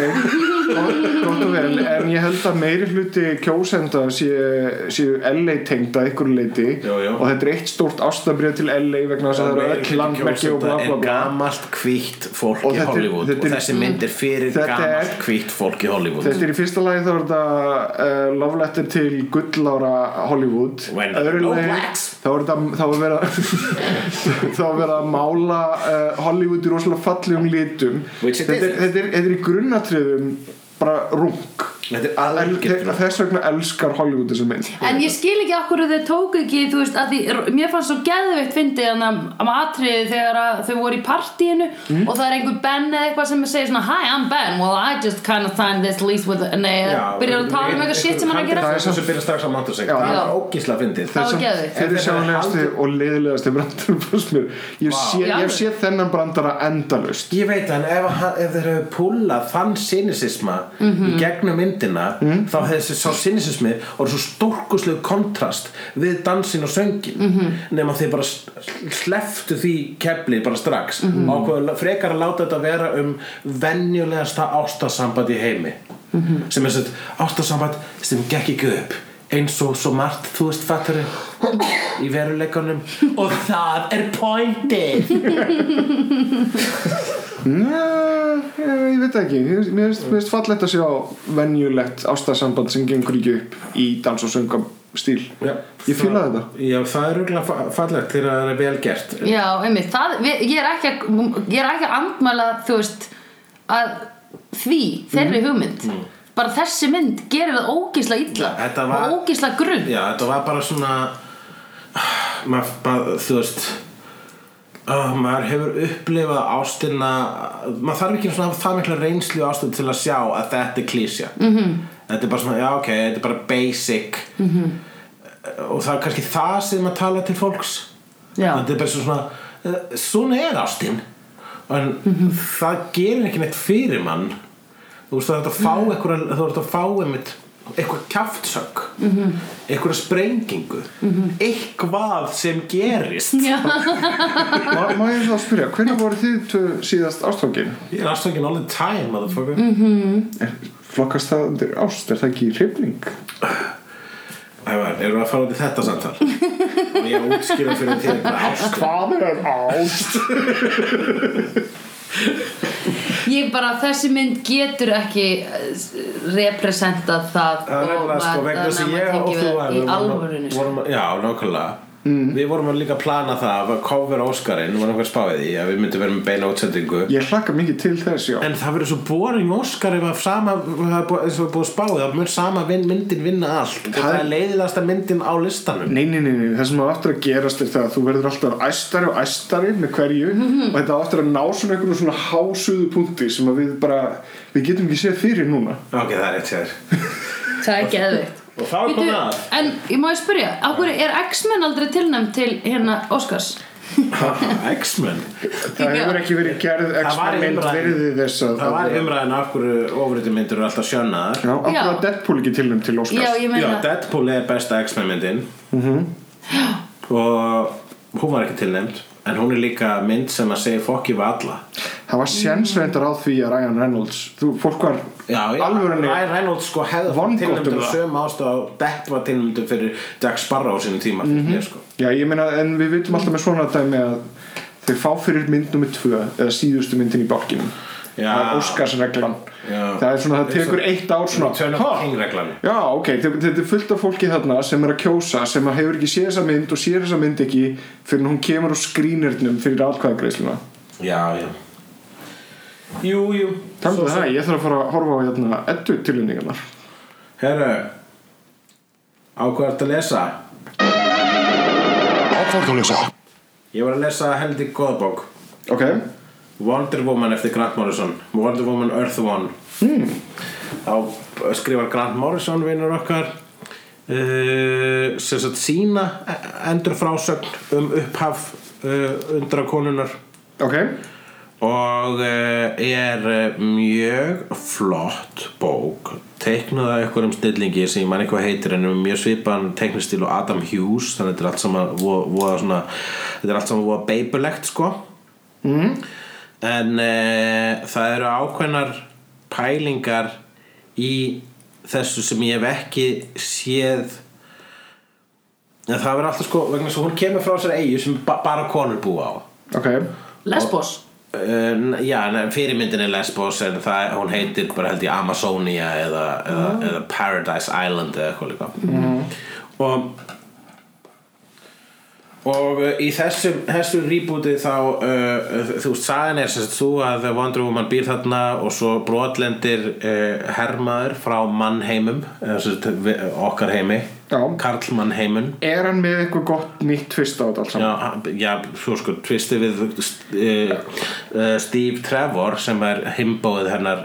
C: gott- gott og vel En ég held að meiri hluti kjósenda séu sé LA tengd að ykkur leiti
D: Jú, jú.
C: og þetta er eitt stórt ástabrið til LA vegna þess að það eru öll landmerki og bla bla
D: er
C: bla
D: gamalt hvítt fólk
C: Og
D: í
C: þetta er-
D: Hollywood
C: þetta er-
D: og þessi mynd er fyrir
C: Þetta er-
D: gamalt hvítt fólk í Hollywood
C: Þetta er í fyrsta lagi þá er þetta uh, Love Letter til gullára Hollywood
D: When
C: Öðru
D: no
C: lagi,
D: blacks.
C: Þá er þetta þá er verið að- þá er verið að mála uh, Hollywood í rosalega fallegum litum
D: Which it
C: þetta, er,
D: isn't.
C: þetta, er, þetta er í grunnatriðum bara rung
D: Þetta er algjört rugl.
C: Þess vegna elskar Hollywood þessu mynd
F: En ég skil ekki okkur að þau tóku ekki þú veist, að því, mér fannst svo geðveikt fyndið hann að atriði þegar að þau voru í partíinu
D: Mm.
F: og það er einhver Ben eða eitthvað sem segir svona Hi, I'm Ben, well I just kind of signed this lease with Nei,
D: Já,
F: byrjar að tala um eitthvað shit sem hann er
D: Það
F: að gera
D: er svo sem byrjar strax að manta sig
C: Já.
D: Það
F: Já.
D: er ógísla fyndið
F: Það var geðveikt.
C: Þeir eru
D: Þetta er
C: sjánlegasti
D: aldrei-
C: og leiðilegasti brandarinn fannst mér Ég sé,
F: Í
C: ég
F: alvöru?
C: sé þennan brandara endalaust
D: Ég veit en ef, hann- ef þeir hefur púlað þann sinisisma
C: Mhm.
D: í gegnum myndina þá hefði þessi sá sinisismi og svo stórkuslegu kontrast við dansin og söngin mm
C: Mhm.
D: -hmm. nema þeir bara sleftu því kefli bara strax mm
C: Mhm.
D: -hmm. ákveðu frekar að láta þetta vera um venjulegasta ástasamband í heimi
C: Mhm.
D: sem er svo ástasamband sem gekk ekki upp eins og svo margt þú veist fattari í veruleikunum og það er pointið
C: Njá, ég, ég veit ekki Mér mér finnst mér finnst fallegt að sjá venjulegt ástasamband sem gengur ekki upp í dans og söngam stíl
D: Já.
C: Ég fílaði þetta
D: Já, það er rúglega fallegt þegar það er vel gert
F: Já, einmitt, það, við, ég, er ekki að, ég er ekki að andmæla þú veist að því, þeirri
D: Mm.
F: hugmynd bara þessi mynd gerir það ógísla illa
D: Þetta var-
F: og ógísla grunn
D: Já, þetta var bara svona mað, mað, þú veist Uh, maður hefur upplifað ástina maður þarf ekki svona að hafa það mikla reynslu ástina til að sjá að þetta er klísja -hmm. þetta er bara svona, já ok, þetta er bara basic -hmm. og það er kannski það sem að tala til fólks
F: Já.
D: þetta er bara svona eh, svona er ástin en það gerir ekki neitt fyrir mann þú veist það er hægt að fá mm -hmm. þú ert að fá einmitt eitthvað kjaftsök mm -hmm. eitthvað sprengingu eitthvað sem gerist
F: Já.
C: Má, má ég þá spyrja, hvernig voru þið tvö síðast ástfangin?
D: ég er afstökin all the time motherfucker mm -hmm.
C: Flokkast það undir ást, er það ekki hrifning?
D: erum við að fara út í þetta samtal og ég er að útskýra fyrir þér hvað ást
C: Hvað er ást?
F: Ég bara, þessi mynd getur ekki eh, representað það
D: Það er nefnilega
F: var-
D: sko vegna þess að
F: þannig
D: ég og
F: maður tengi
D: þú
F: við
D: að
F: Í
D: við vorum,
F: alvörunni sko.
D: vorum Já, nákvæmlega Við vorum að líka plana það að cover Óskarinn var einhver spáðið í að við myndum vera með beina útsendingu
C: Ég hlakka mikið til þess, já
D: En það verður svo boring Óskar ef að sama, það er búið- eins og er búið að spáðið þá mun sama vin, myndin vinna allt og það er leiðilegasta myndin á listanum
C: Nei, nei, nei, nei, það sem á aftur að gerast er það að þú verður alltaf æstari og æstari með hverju og þetta á aftur að ná svona einhvern svona hásuðu punkti sem að við bara, við getum ekki séð fyrir núna.
D: Ok, það er eitt sér
F: Það er geðveikt
D: Og þá er
F: Bíddu,
D: komið að
F: En ég má ég spyrja, af hverju er X-Men aldrei tilnæmt til hérna Óskars?
D: X-Men
C: Það hefur ekki verið gerð
D: var í
C: eksperiment
D: umræðunni.
C: verið þess að...
D: Það var umræðin af hverju ofriðum myndir eru alltaf sjönaðar
C: Já, af hverju
F: Já.
C: að Deadpool ekki tilnum til
F: Já,
C: Óskars?
F: ég
D: Já,
F: meina það
D: Deadpool er besta X-Men myndin Mm-hmm. og hún var ekki tilnefnd en hún er líka mynd sem að segja fokki við alla
C: Það var sénsveindar á því að Ryan Reynolds, þú, fólk var
D: Já, já,
C: alvörunni...
D: Ryan Reynolds sko hefði
C: Vongott um
D: tilnefndur
C: það.
D: söm ástæð og Depp var tilnefndur fyrir Jack Sparrow á sínum tíma mm -hmm. sko.
C: Já, ég meina, en við vitum alltaf með svona dæmi að þeir fá fyrir mynd nummið tvö eða síðustu myndin í bálkinum.
D: Já.
C: Það er Óskarsreglan.
D: Já.
C: Það er svona, það tekur eitt ár svona.
D: Return
C: "Ha?"
D: of King reglan
C: Já, ok, þe- þetta er fullt af fólki þarna sem er að kjósa, sem að hefur ekki séð þessa mynd og séð þessa mynd ekki fyrir hún kemur á skrínirnum fyrir atkvæðagreisluna
D: Já, já Jú, jú
C: Þannig að það, ég þarf að fara að horfa á hérna eddu tilunningarnar
D: Herru Ákvært að lesa Ég var að lesa heldig góða bók
C: Ok,
D: Wonder Woman eftir Grant Morrison Wonder Woman Earth One þá skrifar Grant Morrison vinnur okkar uh, sem sagt sína e-, endur frásögn um upphaf uh, undra konunar
C: ok,
D: og eh, er eh, mjög flott bók teiknuð af einhverjum stillingi sem ég man eitthvað heitir en er með mjög svipan teiknistil og Adam Hughes þannig að þetta er allt saman voða, voða svona, þetta er allt saman voða beibulegt sko mm. en eh, það eru ákveðnar pælingar í þessu sem ég hef ekki séð en það verður alltaf sko vegna svo hún kemur frá sér eigu sem ba bara konur búa á
C: ok
F: Lesbos
D: Uh, já, nei, fyrirmyndin er Lesbos en það, hún heitir bara held ég Amazonia eða, eða, eða Paradise Island eða eitthvað líka og og uh, í þessu, þessu rýbúti þá uh, þú veist, sagan er sem sagt þú að Wonder Woman býr þarna og svo brotlendir uh, hermaður frá mannheimum eða sem sagt vi- okkar heimi
C: Já.
D: karlmannheimun
C: er hann með eitthvað gott nýtt tvist á þetta alls saman
D: Já, hann- já, svo sko, tvisti við uh, uh, Steve Trevor sem er himbóið hennar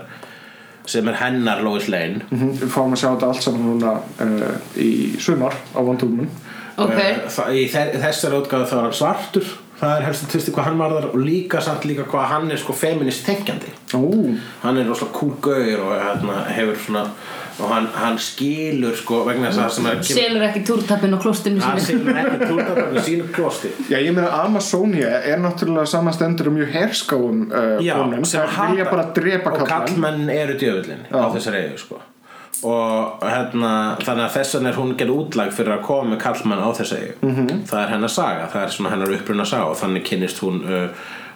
D: sem er hennar Lois Lane
C: Mhm, við fáum að sjá þetta allt saman núna uh, í sumar á vandúmun
F: Ok
D: Eh, það- í þe- þessari útgáðu þá er hann svartur það er helst að tvisti hvað hann varðar og líka samt líka hvað hann er sko feminist tenkjandi
C: Ú,
D: hann er rosalega kúlgauður og hérna, hefur svona og hann, hann skilur sko vegna þess að sem er
F: Selur ekki túrtappin og klostinu
D: hann
F: sinni
D: selur ekki túldarbarni sínu klosti
C: Já, ég meina Amazonia er náttúrulega samanstendur um mjög herskáum uh,
D: Já,
C: konum
D: sem
C: sem vilja
D: hata-
C: bara drepa
D: og
C: kallan
D: kallmenn eru djöfullin á þessari eigu sko og hérna, þannig að þess vegna er hún gerð útlag fyrir að koma með kallmenn á þessa eigu
C: Mhm.
D: -hmm. það er hennar saga, það er svona hennar uppruna saga og þannig kynnist hún uh,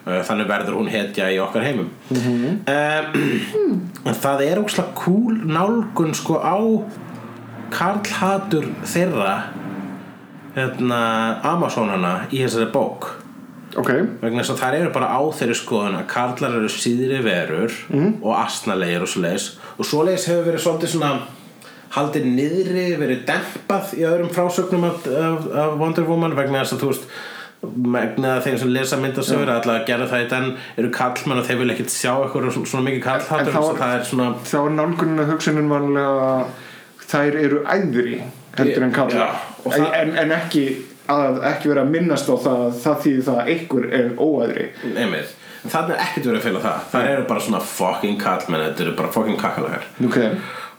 D: uh, þannig verður hún hetja í okkar heimum mm
C: Mhm.
D: það er ókslega kúl nálgun sko á karlhatur þeirra hérna, Amazonana í þessari bók
C: Ok,
D: vegna þess að þær eru bara á þeirri skoðun að karlar eru síðri verur
C: Mhm.
D: og astnalegir og svoleiðis og svoleiðis hefur verið svolítið svona haldið niðri, verið dempað í öðrum frásögnum af, af, af Wonder Woman vegna þess að þú veist megna þeim sem lesa myndasögur að alltaf gera það í den eru kallmenn og þeir vil ekkert sjá eitthvað svona, svona
C: En- en
D: mikið kallhattur
C: þá-
D: þá... það er svona
C: þá er nálgunin að hugsunin vanlega þær eru æðri heldur en kalla
D: Já, og
C: en,
D: það-
C: en, en ekki að ekki vera að minnast á það það þýði það að einhver er óæðri
D: einmitt, þannig er ekkert verið að fela það það eru bara svona fucking kallmenn þetta eru bara fucking kakalagar
C: Ok,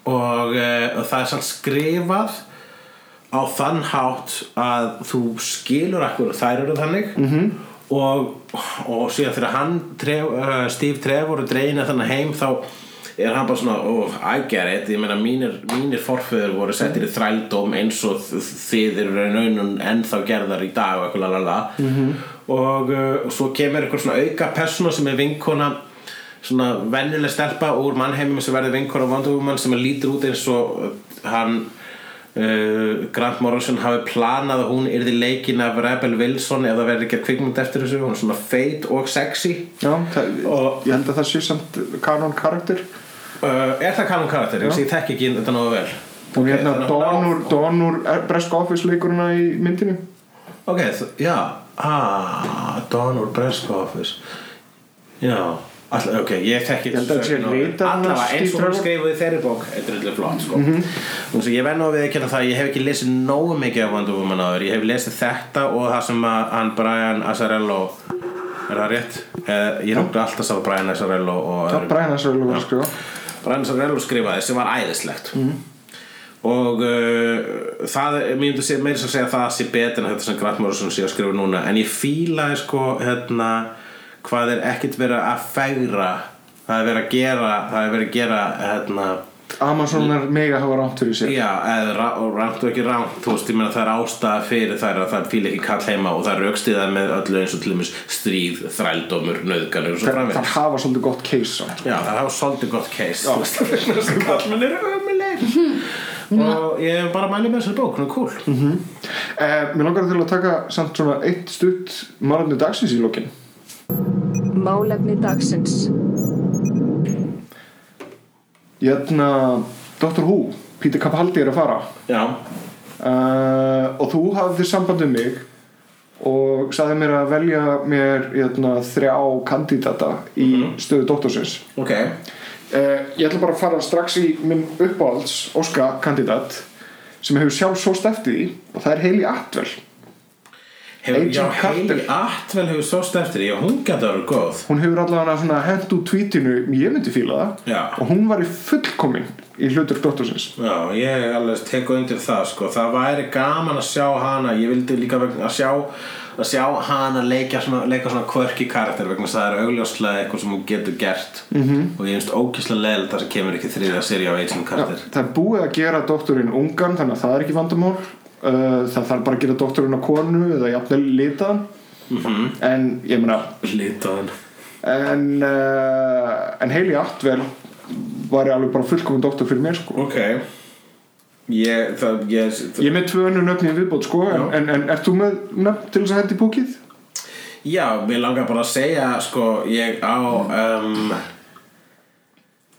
D: og, uh, og það er samt skrifað á þann hátt að þú skilur akkur þær eru þannig -hmm. og, og síðan þegar hann tref, uh, Steve Trevor er dreina þannig heim þá er hann bara svona oh, I get it, ég meina mínir, mínir forföður voru settir í þrældóm eins og þ- þið eru raununum ennþá gerðar í dag og eitthvað lalala -hmm. og uh, svo kemur eitthvað svona auka persóna sem er vinkona svona venjuleg stelpa úr mannheimum sem verður vinkor á vandugumann sem lítur út eins og uh, hann uh, Grant Morrison hafi planað að hún yrði leikin af Rebel Wilson ef það verður ekki að kvikmynd eftir þessu hún er svona feit og sexy
C: já, það,
D: Og-
C: ég held að það sé samt kanon karakter
D: uh, er það kannan karakter? Ég, ég þekki ekki þetta náðu vel
C: Hún er hérna
D: þannig að hún á-
C: Donur, Donur Bresk Office leikuruna í myndinni
D: ok, þ- já ah, Don úr Breska Office já All, ok, ég þekki
C: Ég held að
D: sögn
C: sé
D: á-
C: ritarinn
D: allavega eins og hún
C: Steve Trevor.
D: skrifuði í þeirri bók þetta er eitthvað flott sko
C: Mhm.
D: mm -hmm. ég venn á við ekki það, að ég hef ekki lesið nógu mikið af Wonder Woman áður, ég hef lesið þetta og það sem að hann Brian Azzarello er það rétt? Eh, ég rúkti alltaf sá Brian Azzarello og
C: Það
D: öðrum.
C: bræna svo vel að
D: Já.
C: skrifa
D: Brian Azzarello skrifaði sem var æðislegt og uh, það, er- mér myndi meira sem segja að það sé betur en þetta sem Grant Morrison sé að skrifa núna en ég fílaði sko hérna, hvað er ekkert verið að fegra það er verið að gera það er verið að gera hérna,
C: Amazonar mega hafa rámt fyrir sér
D: já, eða ra- og rangt og ekki rangt þú veist, ég meina það er ástæða fyrir þær að það fíla ekki kall heima og það raukstiða með öllu eins og til dæmis stríð, þrældómur, nöðganur og svo
C: Þar,
D: framvegis
C: þar hafa svolítið gott case samt.
D: Já, það hafa svolítið gott case Þú veist, vegna þess að Kallmenn eru ömulegir Og ég bara mæli með þessari bók, hún er cool
C: Mhm. eh, Mér langar til að taka samt svona eitt stutt málefni dagsins í lokin
G: Málefni dagsins.
C: Jæna, Dr. Hérna, Who, Peter Capaldi er að fara
D: Já,
C: eh, og þú hafðir samband um mig og sagði mér að hérna, velja mér jæna, þrjá kandidata í stöðu doktorsins
D: ok
C: Eh, ég ætla bara að fara strax í minn uppáhalds Óska kandidat sem hefur sjálf sóst eftir því og það er Heili Atvel
D: Hefur,
C: Agent
D: já,
C: Carter.
D: Heili Atvel hefur sóst eftir því Já, hún gæti að vera góð
C: hún hefur allavega svona hent út tweetinu ég myndi fíla það
D: Já.
C: og hún var í fullkomin í hlutur dóttursins
D: Já, ég alveg teku undir það sko. Það væri gaman að sjá hana Ég vildi líka vegna að sjá að sjá hana leika svona, leika svona kvörki karakter vegna þess að það er augljóslega eitthvað sem hún getur gert -hmm.
C: Mhm.
D: og ég finnst ógíslega leiðilegt að það kemur ekki þriðja seri af Agent Carter
C: það er búið að gera dótturinn ungan þannig að það er ekki vandamál Uh, það þarf bara að gera dótturinn að konu eða jafnvel litaðan
D: Mhm.
C: -hmm. en ég meina
D: Litaðan
C: en, uh, en Heili Atvel var alveg bara fullkomin dóttur fyrir mér sko.
D: Ok Ég, það, ég,
C: ég er með tvö önnur nöfni í viðbót sko, en, en, en ert þú með nöfn til þess að hendi búkið?
D: Já, mér langar bara að segja sko, ég á um,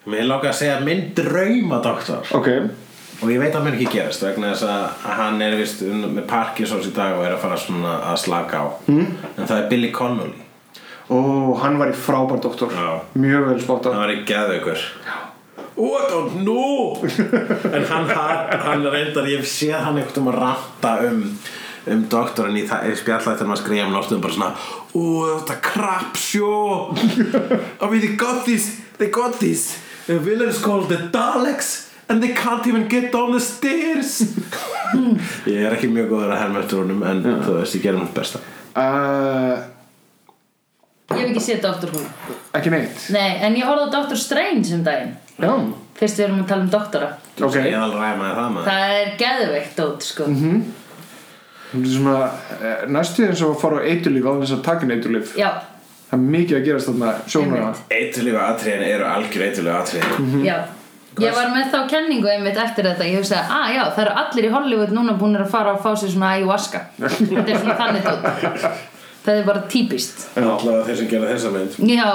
D: mér langar að segja minn draumadoktor
C: ok,
D: og ég veit að mér ekki gerast vegna þess að hann er vist með Parkinsons í dag og er að fara svona að slaka á mm. en það er Billy Connolly
C: og hann var í frábær dóttur
D: Já.
C: mjög vel spotta
D: hann var í geðaukur What don't know en hann, hann, hann reyndar ég sé hann einhvern veginn að ranta um um doktorinn í, þa- í spjallætt þegar maður skrifa um náttúrulega bara svona Ú, þetta crap show I mean they got this they got this the villain is called the Daleks and they can't even get down the stairs ég er ekki mjög góður að herma eftir honum en þú veist, ég gerum hans besta
C: Uh,
F: Ég hef ekki séð Dr. Who
C: ekki neitt
F: Nei, en ég horfði á Dr. Strange um daginn
C: Já,
F: Fyrst við erum að tala um doktora
C: ok
D: ég alveg ræmaði það maður
F: Það er geðveikt út, sko
D: Mhm.
C: Þetta er svona eh, næstu eins og að fara á eiturlif á þess að taka inn eiturlif
F: Já,
C: Það er mikið að gerast þarna sjónuna
F: Einmitt.
D: eiturlega atriðin eru algjör eiturlega atriðin
F: já Ég var með þá kenningu einmitt eftir þetta Ég hugsaði, að ah, já, það eru allir í Hollywood núna búinir að fara að fá sér svona ayahuasca Þetta er svona þannig tótt Það er bara típist
D: Alltaf þeir sem gera þessa mynd
F: Já,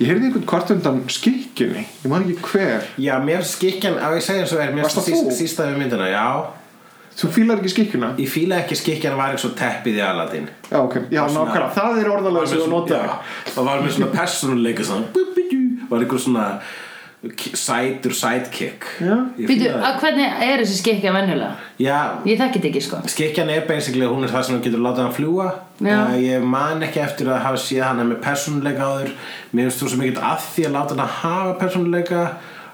C: Ég heyrði einhvern kvart undan skikkinni Ég man ekki hver
D: Já, mér skikjan, á ég segja eins og er Mér
C: Varst það
D: síst,
C: þú?
D: sísta við myndina, já
C: Þú fílar ekki skikkuna?
D: Ég fíla ekki skikjan var eins og teppið í Aladdin
C: Já, ok, já, nákvæmlega, það er orðalega sem þú nota
D: Já, Það var með svona persónuleika svona, bú, bú, bú, Var einhver svona k- Sætur sidekick
C: Já.
D: Ég
F: býtu,
D: fíla það.
F: að hvernig er þessi skikja venjulega?
D: Já,
F: Ég þekki þetta ekki, sko
D: skikjan er basically hún er það sem hún getur látað hann fljúa
F: Já.
D: Eh, ég man ekki eftir að hafa séð hann með persónuleika áður mér finnst þú sem ekkert að því að láta hann að hafa persónuleika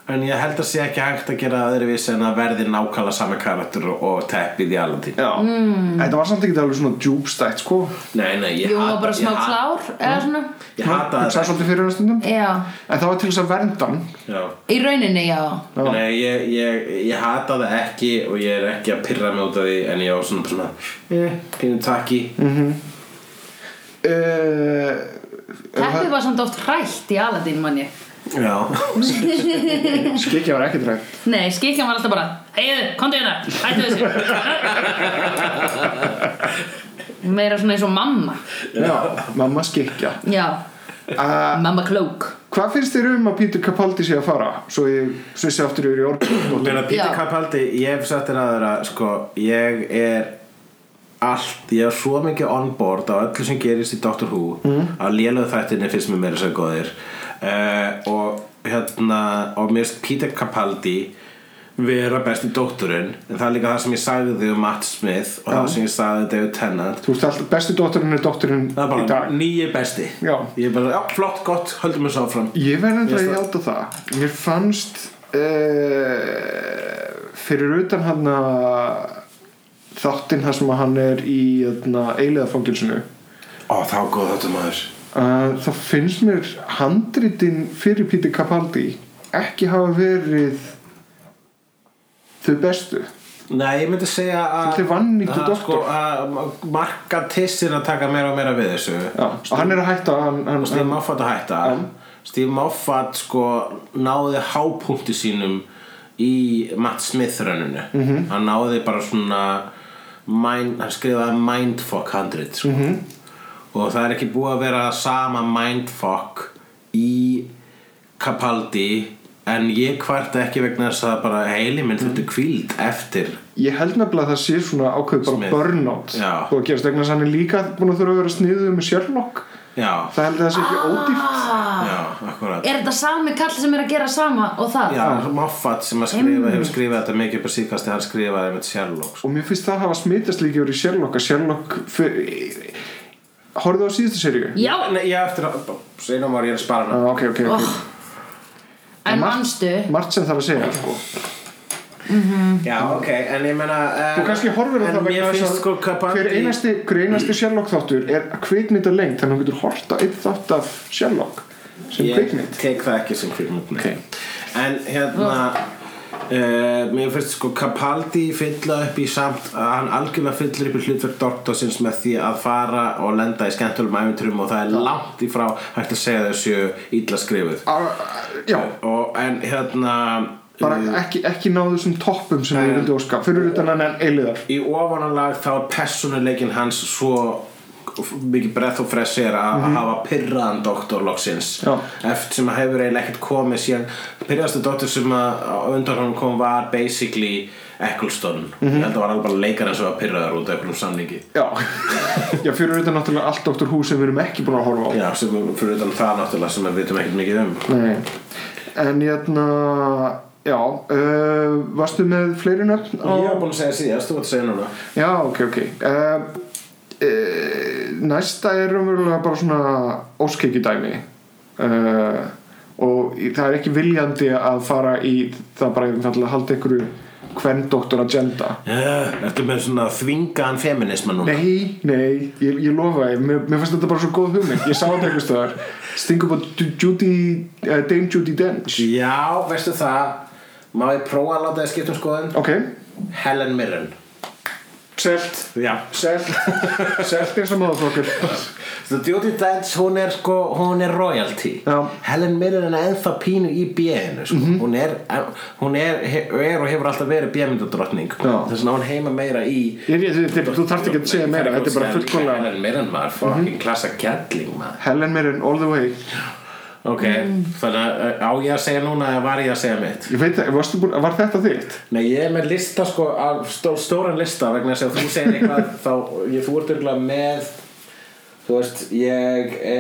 D: en ég held að sé ekki hægt að gera aðri viss en að verði nákvæmlega sami karakter og, og teppið í alveg
C: Já, mm. þetta var samt ekki alveg svona djúbstætt, sko
D: nei, nei, ég
F: Jú, hún var
D: hata
F: bara smá
D: ég hata-
F: klár, eða svona
D: ég hata
C: Hugsaði
D: það
C: svolítið fyrir hann stundum
F: Já,
C: En það var til þess að vernda hann
D: Já.
F: í rauninni, já
C: Já.
D: Nei, ég, ég, ég hata það ekki og ég er ekki að pyrra mig út af því en ég á svona bara svona eh, pínu takki
C: uh,
F: Teppið var samt oft hrætt í Aladdin manni
D: Já
C: Skikki var ekki drægt
F: Nei, skikjan var alltaf bara Heiðu, komdu hérna, hættu þessu Meira svona eins og mamma
C: Já, mamma skikja
F: Já, mamma klók
C: Hvað finnst þér um að Pítur Kapaldi sé að fara? Svo ég, svo ég sé aftur yfir í orðbótt
D: Meina, Peter
F: Já.
D: Capaldi, ég hef sagt þér aðra sko, ég er allt, ég er svo mikið on board á öllu sem gerist í Doctor Who mm. að lélöðu þættinni finnst mér meira svo góðir uh, og hérna og mér finnst Peter Capaldi vera besti dótturinn en það er líka það sem ég sagði því um Matt Smith og það sem ég sagði David Tennant
C: Þú veist alltaf bestu dótturinn er dótturinn
D: það er
C: í
D: bara
C: dag
D: nýju besti
C: Já.
D: ég er bara, já, flott, gott, höldum þessu áfram
C: Ég verði enda að
D: Mér
C: játa það Mér fannst uh, fyrir utan hann að þáttinn þar sem að hann er í hérna, eiliðafangilsinu
D: ó, þá er góð þetta maður
C: uh, þá finnst mér handritin fyrir Pítur Kapaldi ekki hafa verið þau bestu
D: Nei, ég myndi segja að
C: Svolítið vannýttur
D: að, sko,
C: doktor.
D: að marka tissin að taka meira og meira við þessu
C: Já, og hann er að hætta hann, hann,
D: Steve Moffat að hætta Steve Moffat sko náði hápunkti sínum í Matt Smith rönnunu -hmm.
C: Mhm.
D: hann náði bara svona mind, hann skrifaði Mindfuck 100 sko.
C: Mhm.
D: -hmm. og það er ekki búið að vera sama Mindfuck í Capaldi en ég kvarta ekki vegna þess að bara heili minn þurfti kvíld eftir
C: ég held nefnilega að það sé svona ákveð bara
D: Smith.
C: burnout
D: Já.
C: og að gerast vegna þess að hann er líka búin að þurfa að vera sniðuð með Sherlock
D: Já,
F: Ah.
C: það held ég að það sé ekki ódýrt
D: Já, akkurat
F: Er þetta sami kall sem er að gera sama og
D: Ah.
F: það?
D: Já, Moffat sem að skrifa, hefur skrifað þetta mikið upp á síðkasti, hann skrifaði einmitt Sherlock sko.
C: og mér finnst það hafa smitast líka yfir í Sherlock að Sherlock horfðu á síðustu seríu
F: Já,
D: Nei, já, eftir að, seinum var ég að spara hana
C: ah, ok, ok, ok
F: Oh. en
C: Mark-
F: manstu
C: margt sem þarf að segja sko.
D: Já, ok, en ég meina eh,
C: þú kannski horfir á það
D: En mér
C: þess
D: finnst
C: að
D: sko hvað
C: hver
D: bandi
C: einasti, hver einasti Sherlock þáttur er kvikmynda lengt þannig að hún getur hort á einn þátt af Sherlock sem
D: Ég
C: kvikmynd
D: tek það ekki sem kvikmynd nei. En hérna Uh, mér finnst sko Capaldi fylla upp í samt að hann algjörlega fyllir upp í hlutverk doktorsins með því að fara og lenda í skemmtulegum æfinturum og það er langt í frá hægt að segja þessu illa skrifuð
C: Ah, já,
D: og en hérna
C: bara ekki, ekki náðu þessum toppum sem við vildi óska fyrir utan hann en eiliðar
D: í ofanálag þá er personuleikin hans svo mikið breath og fresh er að mm hafa pyrraðan doktor loksins
C: Mhm. Já.
D: eftir sem að hefur eiginlega ekkert komið síðan pyrraðastu doktor sem að á undan honum kom var basically Eccleston,
C: Mhm.
D: ég held að var alveg bara leikar sem var pyrraðar út af einhverjum samningi
C: já. já, fyrir utan náttúrulega allt Dr. Who sem við erum ekki búin að horfa á
D: Já, sem fyrir utan það náttúrulega sem við vitum ekkert mikið um
C: Nei, en hérna já, uh, varstu með fleiri nöfn? á-
D: Ég var búin að segja síðast, þú vart að segja núna
C: Já, ok, ok uh, uh, Næsta er umverulega bara svona óskeiki dæmi uh, og í- það er ekki viljandi að fara í það bara einfallega að halda einhverju hvern doktor agenda
D: yeah. Eh, Ertu með svona þvingaðan feminisma núna?
C: Nei, nei, ég, ég lofa þér, mér, mér fannst þetta bara svo góð hugmynd Ég sá þetta einhvers stöðar Sting upp á Du- Judy, uh, Dame Judy Dench
D: Já, veistu það Má ég prófa að láta þið skiptum skoðun?
C: Ok,
D: Helen Mirren
C: selt
D: Já
C: Selt, selt eins og maður okkur
D: The Duty Dance, hún er sko, hún er royalty
C: Já. Mhm.
D: Helen Mirren er ennþá pínu í bjöðinu sko. hún, er, hún er, er og hefur alltaf verið bjöðmyndadrottning
C: Já.
D: þess að hún heima meira í
C: Ég veit, þú- þú- þú þarft ekki að segja meira, þetta er bara fullkomlega Mhm.
D: Helen Mirren maður, fucking klassa kjalling maður
C: Helen Mirren all the way
D: Ok, þannig að á ég að segja núna eða var ég að segja mitt?
C: Ég veit það, varstu búin, var þetta þitt?
D: Nei, ég er með lista sko, af stó, stóran lista vegna þess að þú segir eitthvað þá, ég, þú ert örgulega með þú veist, ég e,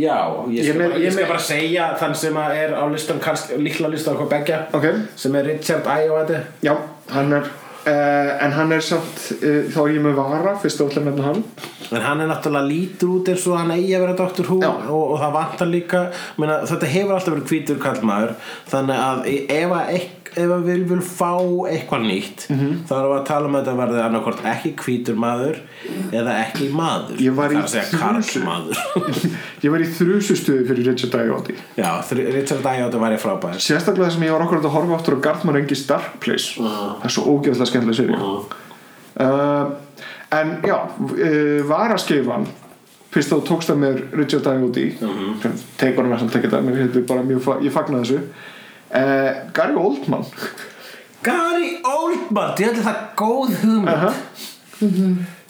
D: já, ég
C: Ég
D: skal,
C: með-
D: bara,
C: ég
D: ég skal
C: með-
D: bara segja þann sem að er á listan, kannski, líkla lista okkur begja,
C: Ok.
D: sem er Richard Ayoade
C: Já, hann er uh, En hann er samt, uh, þá er ég með vara Fyrst og allir nefna hann
D: en hann er náttúrulega lítur út eins og hann eigi að vera Dr. Who
C: Já.
D: og, og það vantar líka meina, þetta hefur alltaf verið hvítur kallmaður þannig að í- ef að ekk- ef að við viljum fá eitthvað nýtt
C: Mhm.
D: þá erum við að tala um að þetta verði annarkort ekki hvítur maður eða ekki maður
C: Ég var í
D: það er að segja
C: þrusu.
D: karlmaður
C: Ég var í þrjusustuði fyrir Richard Dioti
D: já, þr- Richard Ayotte var ég frábær
C: Sérstaklega það sem ég var okkur að horfa áttur á Gartman Engi Dark Place Það er svo ógeðslega skemmtilega séri uh, En já, uh, varaskifan Fyrst þá tókst það mér Richard Dioti
D: Mhm.
C: mm -hmm. Tegur hann sem tekið það Mér hefði bara mjög, fa- ég fagna þessu uh, Gary Oldman
D: Gary Oldman, ég ætla það góð hugmynd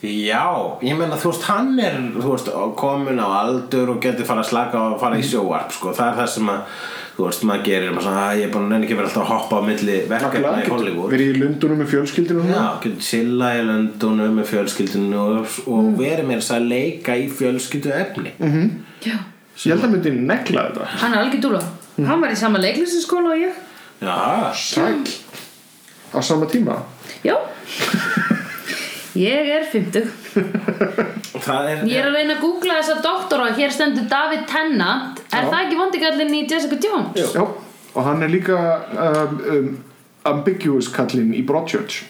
D: Já, ég meina þú veist hann er þú veist, komin á aldur og getur fara að slaka og fara í sjóvarp sko. það er það sem að þú veist maður gerir maður svona, "Æ, ég er búin að nefn ekki verið alltaf að hoppa á milli verkefna í Hollywood
C: Verið í Lundunum með fjölskyldinu og svona.
D: Já, getur chilla í löndunum með fjölskyldinu og, og verið mér að leika í fjölskyldu efni
F: Já.
C: Ég held að myndi negla þetta
F: Hann er algjör dúla Hann var í sama leiklisinskóla og ég
D: Já,
C: Sæl Á sama tíma
F: Já Ég er 50
D: það er
F: Ég er að reyna að googla þessa doktora Hér stendur David Tennant Er það ekki vondigallin í Jessica Jones?
C: Já Og hann er líka um, um, ambiguous kallinn í Broadchurch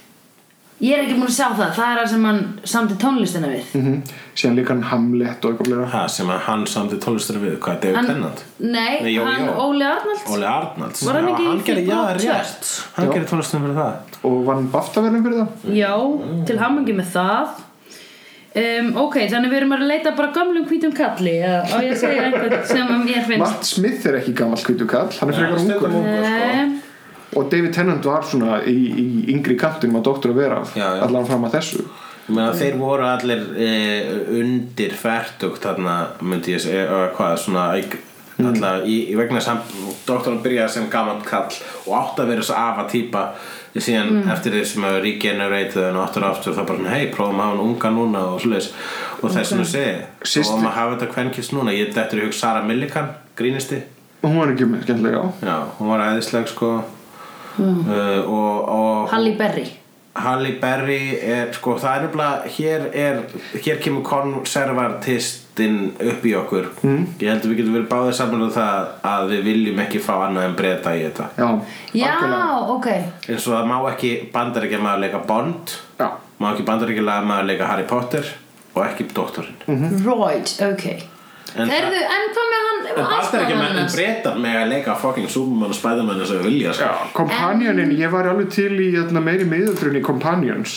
F: Ég er ekki múin að sjá það Það er það sem hann samti tónlistina við
C: mm Síðan líka hann Hamlet og eitthvað fleira
D: það sem að hann samdi tónlistur við hvað, David Tennant
F: Nei,
D: Nei, jó,
F: hann
D: jó.
F: Óli Arnalds
D: Óli Arnalds
F: Var hann
D: Já,
F: ekki í
D: gerði-
F: því
D: já,
F: Broad
D: rétt.
F: Church?
D: Hann
C: Já.
D: gerði tónlistum fyrir það
C: Og vann Baftaverðin fyrir það
F: Já,
D: Mm.
F: til hammingi með það um, Ok, þannig við erum að leita bara gömlum hvítum kalli eða á ég að segja einhvern sem að mér finnst
C: Matt Smith er ekki gamall hvítu kall Hann er frekar
D: stundum
C: ungur
D: ungur, sko.
F: Nei,
C: Og David Tennant var svona í, í yngri kantinum að doktor að vera
D: Já, já.
C: Allan fram að þessu
D: Ég meina, þeir voru allir e, undir færtugt þarna myndi ég segja, e, hvað, svona e, alltaf í, í vegna sem doktorinn byrjaði sem gaman kall og átti að vera þess afa típa síðan eftir því sem að regenerate en áttur og aftur þá bara svona hei, prófum að hafa hann unga núna og svoleiðis og þess vegna segi,
C: Systir-
D: prófum að hafa þetta kvenkist núna ég dettur í hug Sara Millikan, grínisti
C: hún var ekki skemmtilega á
D: já, hún var æðisleg sko uh, og, og
F: Halle Berry
D: Halle Berry er sko það er nefnilega hér er hér kemur konservatistin upp í okkur mm. ég held að við getum verið báðið saman um það að við viljum ekki fá annað en breyta í þetta
C: já,
F: Já,
C: algjörlega.
F: ok
D: eins og það má ekki bandaríkja maður leika Bond
C: já.
D: má ekki bandaríkja maður leika Harry Potter og ekki doktorinn mm.
F: Right, ok
D: En-
F: En, Erðu, en hvað með hann
D: en bandaríkja
F: aðstoðarmann
D: maður en
F: hans?
D: breyta með að leika fucking Superman og Spiderman eins og við vilja sko.
C: kompanjonin, ég var alveg til í hérna, meiri miðöldrun í kompanjons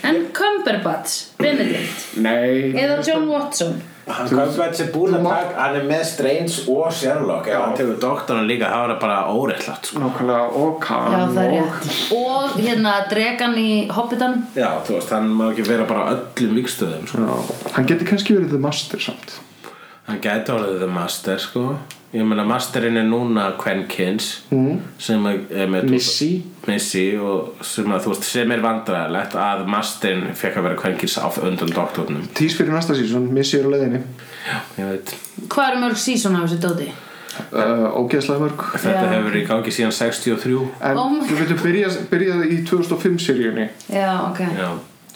F: En Cumberbatch, Benedict
C: nei,
F: Eða John Watson
D: Hann Cumberbatch er búin
C: að
D: taka, hann er með Strange og Sherlock ef hann tekur doktorinn líka, það var bara óreittlátt sko.
C: nákvæmlega og
F: Já,
C: kann
F: það er
C: og
F: rétt Og hérna dregan í Hobbitanum
D: Já, þú veist, hann má ekki vera bara á öllum vikstöðum, sko.
C: Já, hann getur kannski verið the master samt
D: Hann gæti orðið það master, sko. Ég meina, masterinn er núna Kvenkins, mm. sem er er með...
C: Missy.
D: Missy, og sem, að, þú veist, sem er vandræðilegt að masterinn fekk að vera Kvenkins á undan doktornum.
C: tís fyrir næsta sísón, missi ég er á leiðinni
D: Ég veit,
F: Hvað eru mörg sísón á þessu dóti?
C: uh, ógeðslega mörg
D: þetta
F: Já.
D: hefur verið í gangi síðan 63.
C: en
F: Oh my-
C: þú veitum byrjað, byrjað í 2005 seríunni
F: Já, ok
D: Já.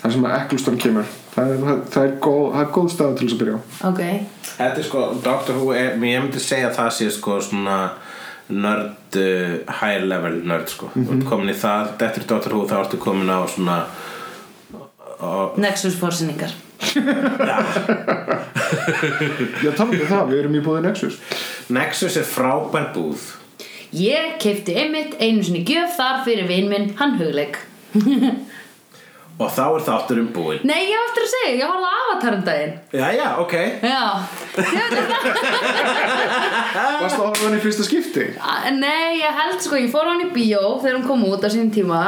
C: þar sem að Eccleston kemur það er, það, það er, góð, það er góð stað til þess að byrja á
F: Ok
D: Þetta er sko, Doctor Who, er, ég myndi segja að það sé sko svona nörd, uh, high level nörd, sko. Þú ert komin í það, dettur í Doctor Who, þá ertu komin á svona...
F: Nexus fórsinningar
C: já, talum við það, við erum í búði Nexus
D: Nexus er frábær búð
F: Ég keipti einmitt einu sinni gjöf þar fyrir vinn minn, hann hugleik
D: og þá er þátturinn búinn
F: Nei, ég á eftir að segja, ég horfði á Avatar um daginn
D: Jæja, ok
F: Já, Ah.
C: varst það orðan í fyrsta skipti?
F: A- Nei, ég held sko, ég fór á hann í bíó þegar hún kom út á sínum tíma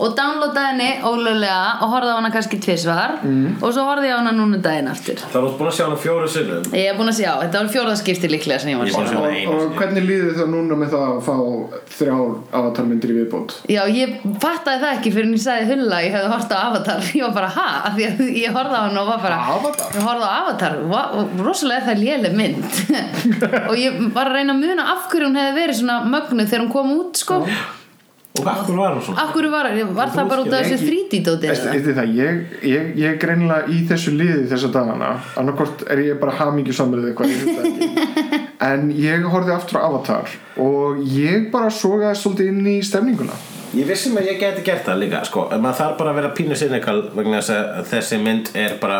F: og downloadaði henni ólöglega og horfði á hana kannski tvisvar og svo horfði ég á hana núna daginn aftur
D: Það er út búin að sjá hana fjóru sinnum
F: Ég er búin að sjá, þetta var fjórðaskipti líklega sem ég var
D: Ég er búin að
F: að sjá
D: sjá hana
C: og,
D: einu
C: og
D: sinni
C: hvernig líði það núna með það að fá þrjár avatarmyndir í viðbót?
F: Já, ég fattaði það ekki fyrir en ég sagði hulla að ég hefði hort á Avatar ég var bara, ha, af því að ég horfði á hann og var bara
C: Avatar?
F: Ég horfði á Avatar, va, rosalega er það léleg mynd og ég var að reyna að muna af hverju hún hefði verið svona mögnu þegar hún kom út, sko
D: Og hvað var hún svona?
F: Af hverju var, var það bara út af þessu 3D-dóti
C: Veistu veistu það, ég, ég, ég er greinilega í þessu liði þessa dagana annarkort er ég bara hamingi samrið eitthvað ég veit það ekki. en ég horfði aftur á Avatar og ég bara sogaði svolítið inn í stemninguna
D: Ég vissum að ég geti gert það líka sko. En maður þarf bara að vera pínu sinnikal vegna þess að þessi mynd er bara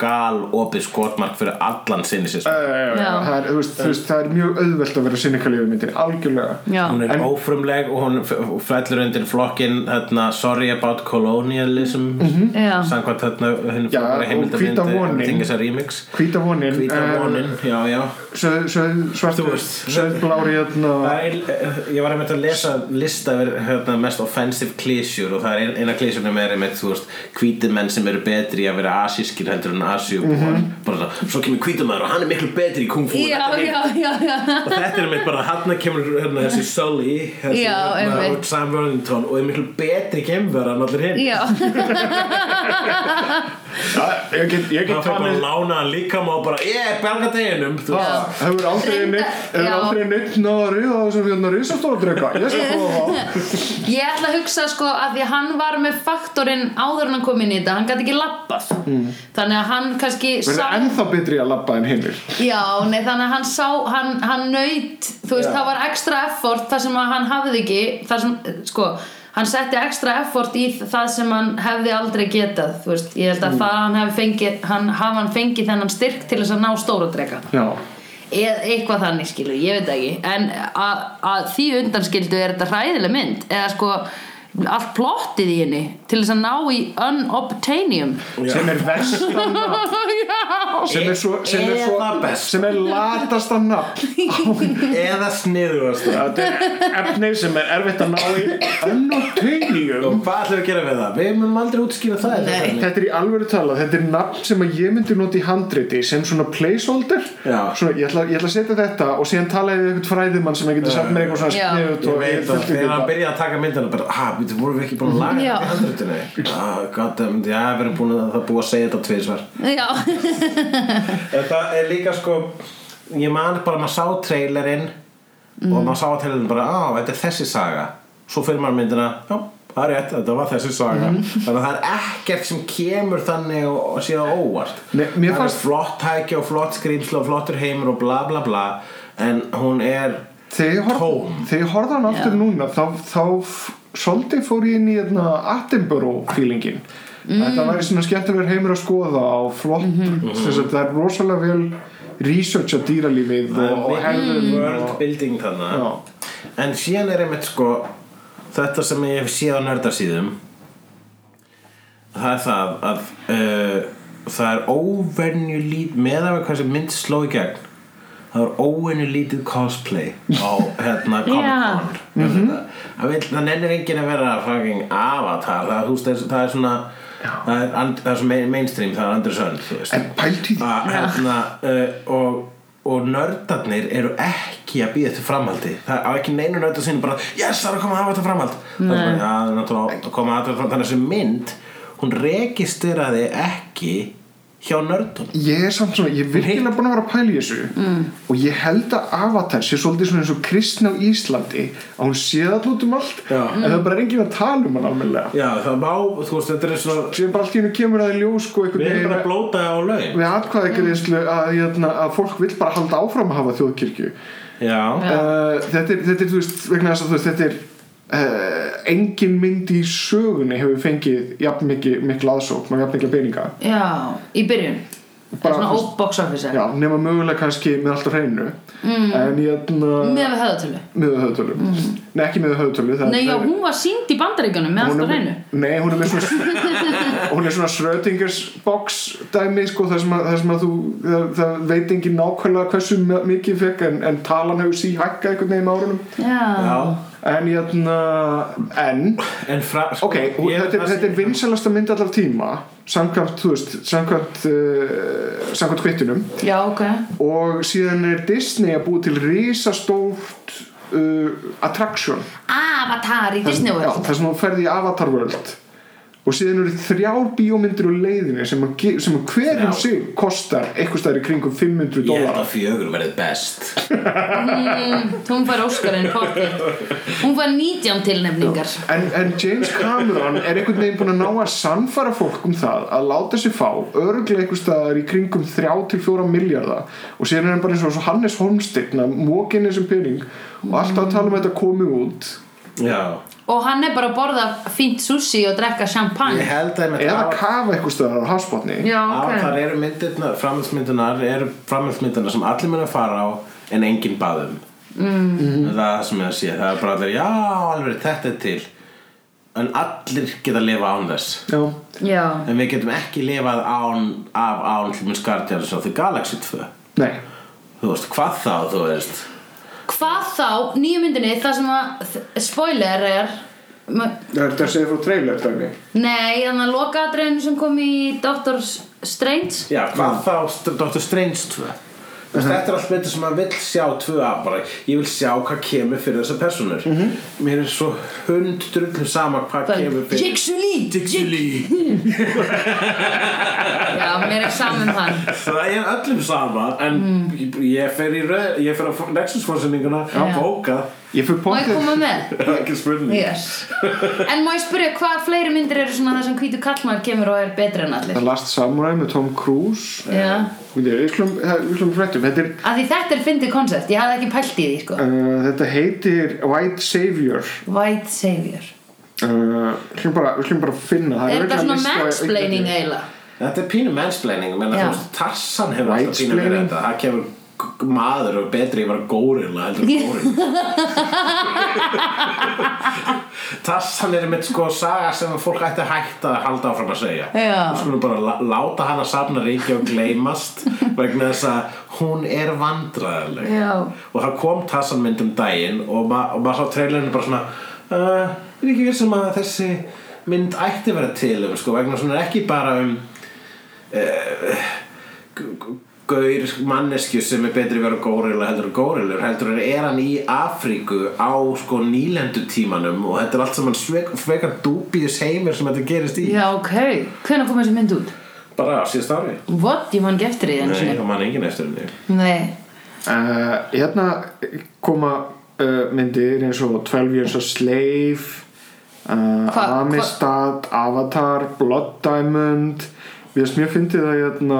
D: gal opið skotmark fyrir allan sinni sér sko.
F: Já.
C: það er, þú veist, þú veist, það er mjög auðvelt að vera sinnikalið við myndinni, algjörlega
F: Já,
D: Hún er ófrumleg og hún f- f- fellur undir flokkin hérna, Sorry about colonialism
F: Já.
D: Samkvæmt hérna hinn
C: Mhm. Já,
D: frábæra
C: og
D: heimildamynd,
C: Hvíta vonin.
D: eh, Þingisa remix
C: hvíta vonin,
D: Hvíta
C: eh,
D: vonin, já, já
C: söð- söð-
D: Þú
C: svartur
D: veist.
C: söðblári hérna
D: Það er, eh, ég var einmitt að lesa lista yfir hérna, mest offensive klísjur og það er ein- eina klísjunum er einmitt þú veist hvíti menn sem eru betri í að vera asískir heldur en asíubúar bara það, svo kemur hvítumæður og hann er miklu betri í kungfú
F: Mhm. já, já, já, já.
D: og þetta er einmitt bara hann kemur hérna, þessi Sully þessi,
F: Já, einmitt.
D: og Sam Worthington og er miklu betri kemur en allir hinn
F: Já,
C: Já, ég get, ég get
D: það fyrir bara að
C: talið
D: lána hann líka má bara, ég, belga deginum þú veist
C: Það Ah, hefur aldrei
F: Reynda-
C: neitt hefur
F: já.
C: aldrei neitt náða að ríða þessum hérna risastóra drega ég skal prófa það
F: ég ætla að hugsa sko að því að hann var með faktorinn áður en hann kom inn í þetta, hann gæti ekki labbað þannig að hann kannski
C: Mm. verður
F: sá-
C: ennþá betri í að labba en hinnir
F: Já, nei, þannig að hann sá, hann, hann nöyt, þú veist, það var ekstra effort þar sem að hann hafði ekki, þar sem, sko, hann setti ekstra effort í það sem hann hefði aldrei getað, þú veist, ég held að það hann hefði fengið, hann, hafa hann fengið þennan styrk til þess að ná stóra drega.
C: já,
F: Eð, eitthvað þannig skilu, ég veit það ekki, en að að því undanskildu er þetta hræðileg mynd, eða sko, allt plottið í henni til þess að ná í unobtainium
C: sem er versta nafn
F: já,
C: sem er svo, sem er svo
D: Eða best.
C: sem er latasta nafn
D: eða sniðurast
C: þetta er efni sem er erfitt að ná í
D: og
C: ennotainium
D: hvað ætlum við að gera með það? Við munum aldrei útskýra það í
F: Nei.
D: þessari.
C: þetta er í alvöru tala, þetta er nafn sem að ég myndi nota í handriti sem svona placeholder
D: Já.
C: svona, ég, ætla, ég ætla að setja þetta og síðan tala ég við eitthvað fræðimann sem ég getur samt með eitthvað svona
F: Já.
C: sniðut
D: Ég
C: og
D: veit að
C: fylgdi
D: þegar hann
C: þetta.
D: byrjaði að taka myndina bara, ha, við vorum við ekki búin að laga
F: Já.
D: þetta í handritinu ah, goddamn, já, við erum búin að það búið að segja þetta tvisvar
F: já.
D: Þetta er líka sko Ég man bara að maður sá trailerinn Og
C: Mm.
D: maður sá trailerinn bara Á, þetta er þessi saga Svo fyrir maður myndina Já, það er rétt, þetta var þessi saga
C: Mm.
D: Þannig að það er ekkert sem kemur þannig og, og síðan óvart
C: Nei, mér
D: Það er
C: fannst-
D: flott tæki og flott skrýmsla og flottur heimur og bla bla bla En hún er
C: þegar ég horf-
D: tóm
C: þegar ég horfði á hann aftur
F: Já.
C: núna þá, þá f- svolítið fór ég inn í hérna, Attenborough feelingin þetta væri svona skemmtilegur heimur að skoða og flott þess að það er rosalega vel research á dýralífið
D: Mhm. Það
C: og, og
D: er
C: hefðum
D: mikil world
C: og,
D: building þannig
C: Já.
D: En síðan er einmitt sko Þetta sem ég hef séð á nördarsýðum Það er það að uh, Það er óvenju lít Meðan við hvað sem mynd sló í gegn Það er óvenju lítið cosplay Á hérna Comic-Con mm það, vill, það nennir enginn að vera fucking avatar Það, þú veist, það, er- það er svona Það er, and- það er svo main- mainstream, það er Andrew Sund þú veist.
C: en pælti því
D: Að, hérna, uh, og, og nördarnir eru ekki að býða eftir framhaldi það er ekki neinu nördar sinni bara yes, það er að koma að hafa þetta framhald það er bara, "Já, það er náttúrulega að koma að þetta framhald þannig að þessi mynd, hún registeraði ekki hjá nördunum
C: ég er samt svona, ég er virkilega búin að vera að pæla í þessu og ég held að Avatar sé svolítið svona eins og kristna á Íslandi að hún sé það út um allt
D: Já.
C: en það er bara enginn að tala um hann almennilega
D: já, það má, þú veist, þetta er svona
C: sem bara allt í hennu kemur að í ljós sko, einhvern
D: við erum
C: veginn-
D: bara að blóta á laun
C: við atkvæðagreyslu að, hérna, að fólk vill bara halda áfram að hafa þjóðkirkju
D: já,
C: uh, þetta, er, þetta er, þú veist, vegna þess að þú veist, þetta er uh, engin mynd í sögunni hefur fengið jafn mikið, mikla aðsókn og jafn mikla peninga
F: já, í byrjun það
C: Bara
F: er svona
C: fyrst-
F: óbox office
C: Já, nema mögulega kannski með allt á hreinu mm. en hérna
F: með við höðatölu
C: með höfðutölu nei, ekki með höfðutölu
F: Mhm. nei, já, hún var sínd í bandaríkjunum með allt á hreinu
C: Nei, hún er með svona hún er svona Schrödingers box dæmi sko, þar sem að, þar sem að þú það, það veit engin nákvæmlega hversu m- mikið fekk en, en talan hefur síhækkað einhvern veginn með árunum
F: já,
D: já
C: en jæna en
D: en fra, sko,
C: ok, hún,
D: ég-
C: þetta, er,
D: það sé-
C: þetta er vinsalasta mynd allar tíma samkvæmt, þú veist, samkvæmt uh, samkvæmt kvittunum
F: já, ok
C: og síðan er Disney að búi til risastórt uh, attraction
F: Avatar í Disney
C: Já,
F: World
C: þar sem þú ferði í Avatar World og síðan eru þrjár bíómyndir úr leiðinni sem, að, ge- sem að hver um
D: Þrjár.
C: sig kostar eitthvað stær í kringum 500
D: ég held
C: dólar
D: að fjögur verið best
F: Mm, hún fær Óskarinn pottið hún fær 19 tilnefningar
C: en, en James Cameron er einhvern veginn búin að ná að sannfæra fólk um það að láta sér fá örglega einhvers staðar í kringum 3-4 miljardar og síðan er hann bara eins og svo Hannes Holmsteinn að móka inn þessum pening og alltaf að tala um þetta komið út
D: já
F: og hann er bara að borða fínt sushi og drekka champagne
D: ég held að einmitt
C: eða
D: að-
C: kafa einhvers staðar á hafsbotni
F: já,
D: Avatar
F: ok
D: eru myndirnar, framhaldsmyndirnar eru framhaldsmyndirnar sem allir munu að fara á en enginn baðum mm. það er það sem ég að sé, það er bara allir já, alveg þetta er til en allir geta að lifa án þess
C: Já.
F: já,
D: en við getum ekki lifað án af án hlumins Guardians of the Galaxy 2
C: Nei,
D: þú veist, hvað þá, þú veist
F: hvað þá nýju myndinni það sem að þ- spoiler er m-
C: það er þetta að segja frá trailer dæmi
F: nei, þannig að lokaðadreinu sem kom í Doctor Strange
D: já, hvað þá St- Dr. Strange 2 Þú veist, Þetta er allt myndir sem maður vill sjá tvö af bara, ég vil sjá hvað kemur fyrir þessar personur Mér er svo hundrullum sama hvað kemur fyrir
F: Jigsuli
D: Dixie
F: já, mér er saman hann
D: Það er öllum sama en ég, ég fer í röð ég fer á Nexus fórsendinguna
F: Mm. Já.
D: að bóka
C: Ég fyrir
F: má ég
C: pottið
F: koma með?
D: það er ekki spurning
F: yes en má ég spyrja hvað fleiri myndir eru svona það sem hvítu kallmann kemur og er betri en allir
C: Það Last Samurai með Tom Cruise Eh,
F: já
C: Við við slum, það- við slum eh, fréttum þetta, er,
F: Af því þetta er fyndið koncept, ég hafði ekki pælt í því sko
C: uh, þetta heitir White Savior
F: White Savior
C: uh, við slum bara, við slum bara finna það
F: Er þetta
C: örugglega
F: svona
C: listi á
F: mansplaining
C: Wikipedia.
F: eiginlega?
D: Þetta er pínu mansplaining menna,
F: Já.
D: þú veist, Tarsan hefur alltaf pínu verið
C: Whitesplaining.
D: þetta það kemur g- maður og betri ég var górilla heldur en górilla Tassan er mitt sko saga sem fólk ætti að hætta að halda áfram að segja
F: Já.
D: Við skulum bara lá- láta hana safna reykja og gleymast vegna þess að hún er vandræðaleg
F: Já.
D: og það kom Tassan mynd um daginn og, ma og maður sá trailerinu bara svona uh, er ekki við sem að þessi mynd ætti að vera til um sko vegna svona ekki bara um gaur mannesku sem er betri verið górilla heldur en górillur heldur en er hann í Afríku á sko nýlendu tímanum og þetta er allt saman svek, svekar dúbíðis heimir sem þetta gerist í
F: Já, ok. Hvenær kom þessi mynd út?
D: bara á síðast ári
F: What? Ég man ekki eftir því enn
D: Nei,
F: sinni.
D: það man enginn eftir henni
F: Nei.
C: uh, hérna koma uh, myndir eins og 12 Years a Slave uh,
F: Hva- hva-
C: Amistad Avatar, Blood Diamond við erum mjög fyndið að hérna,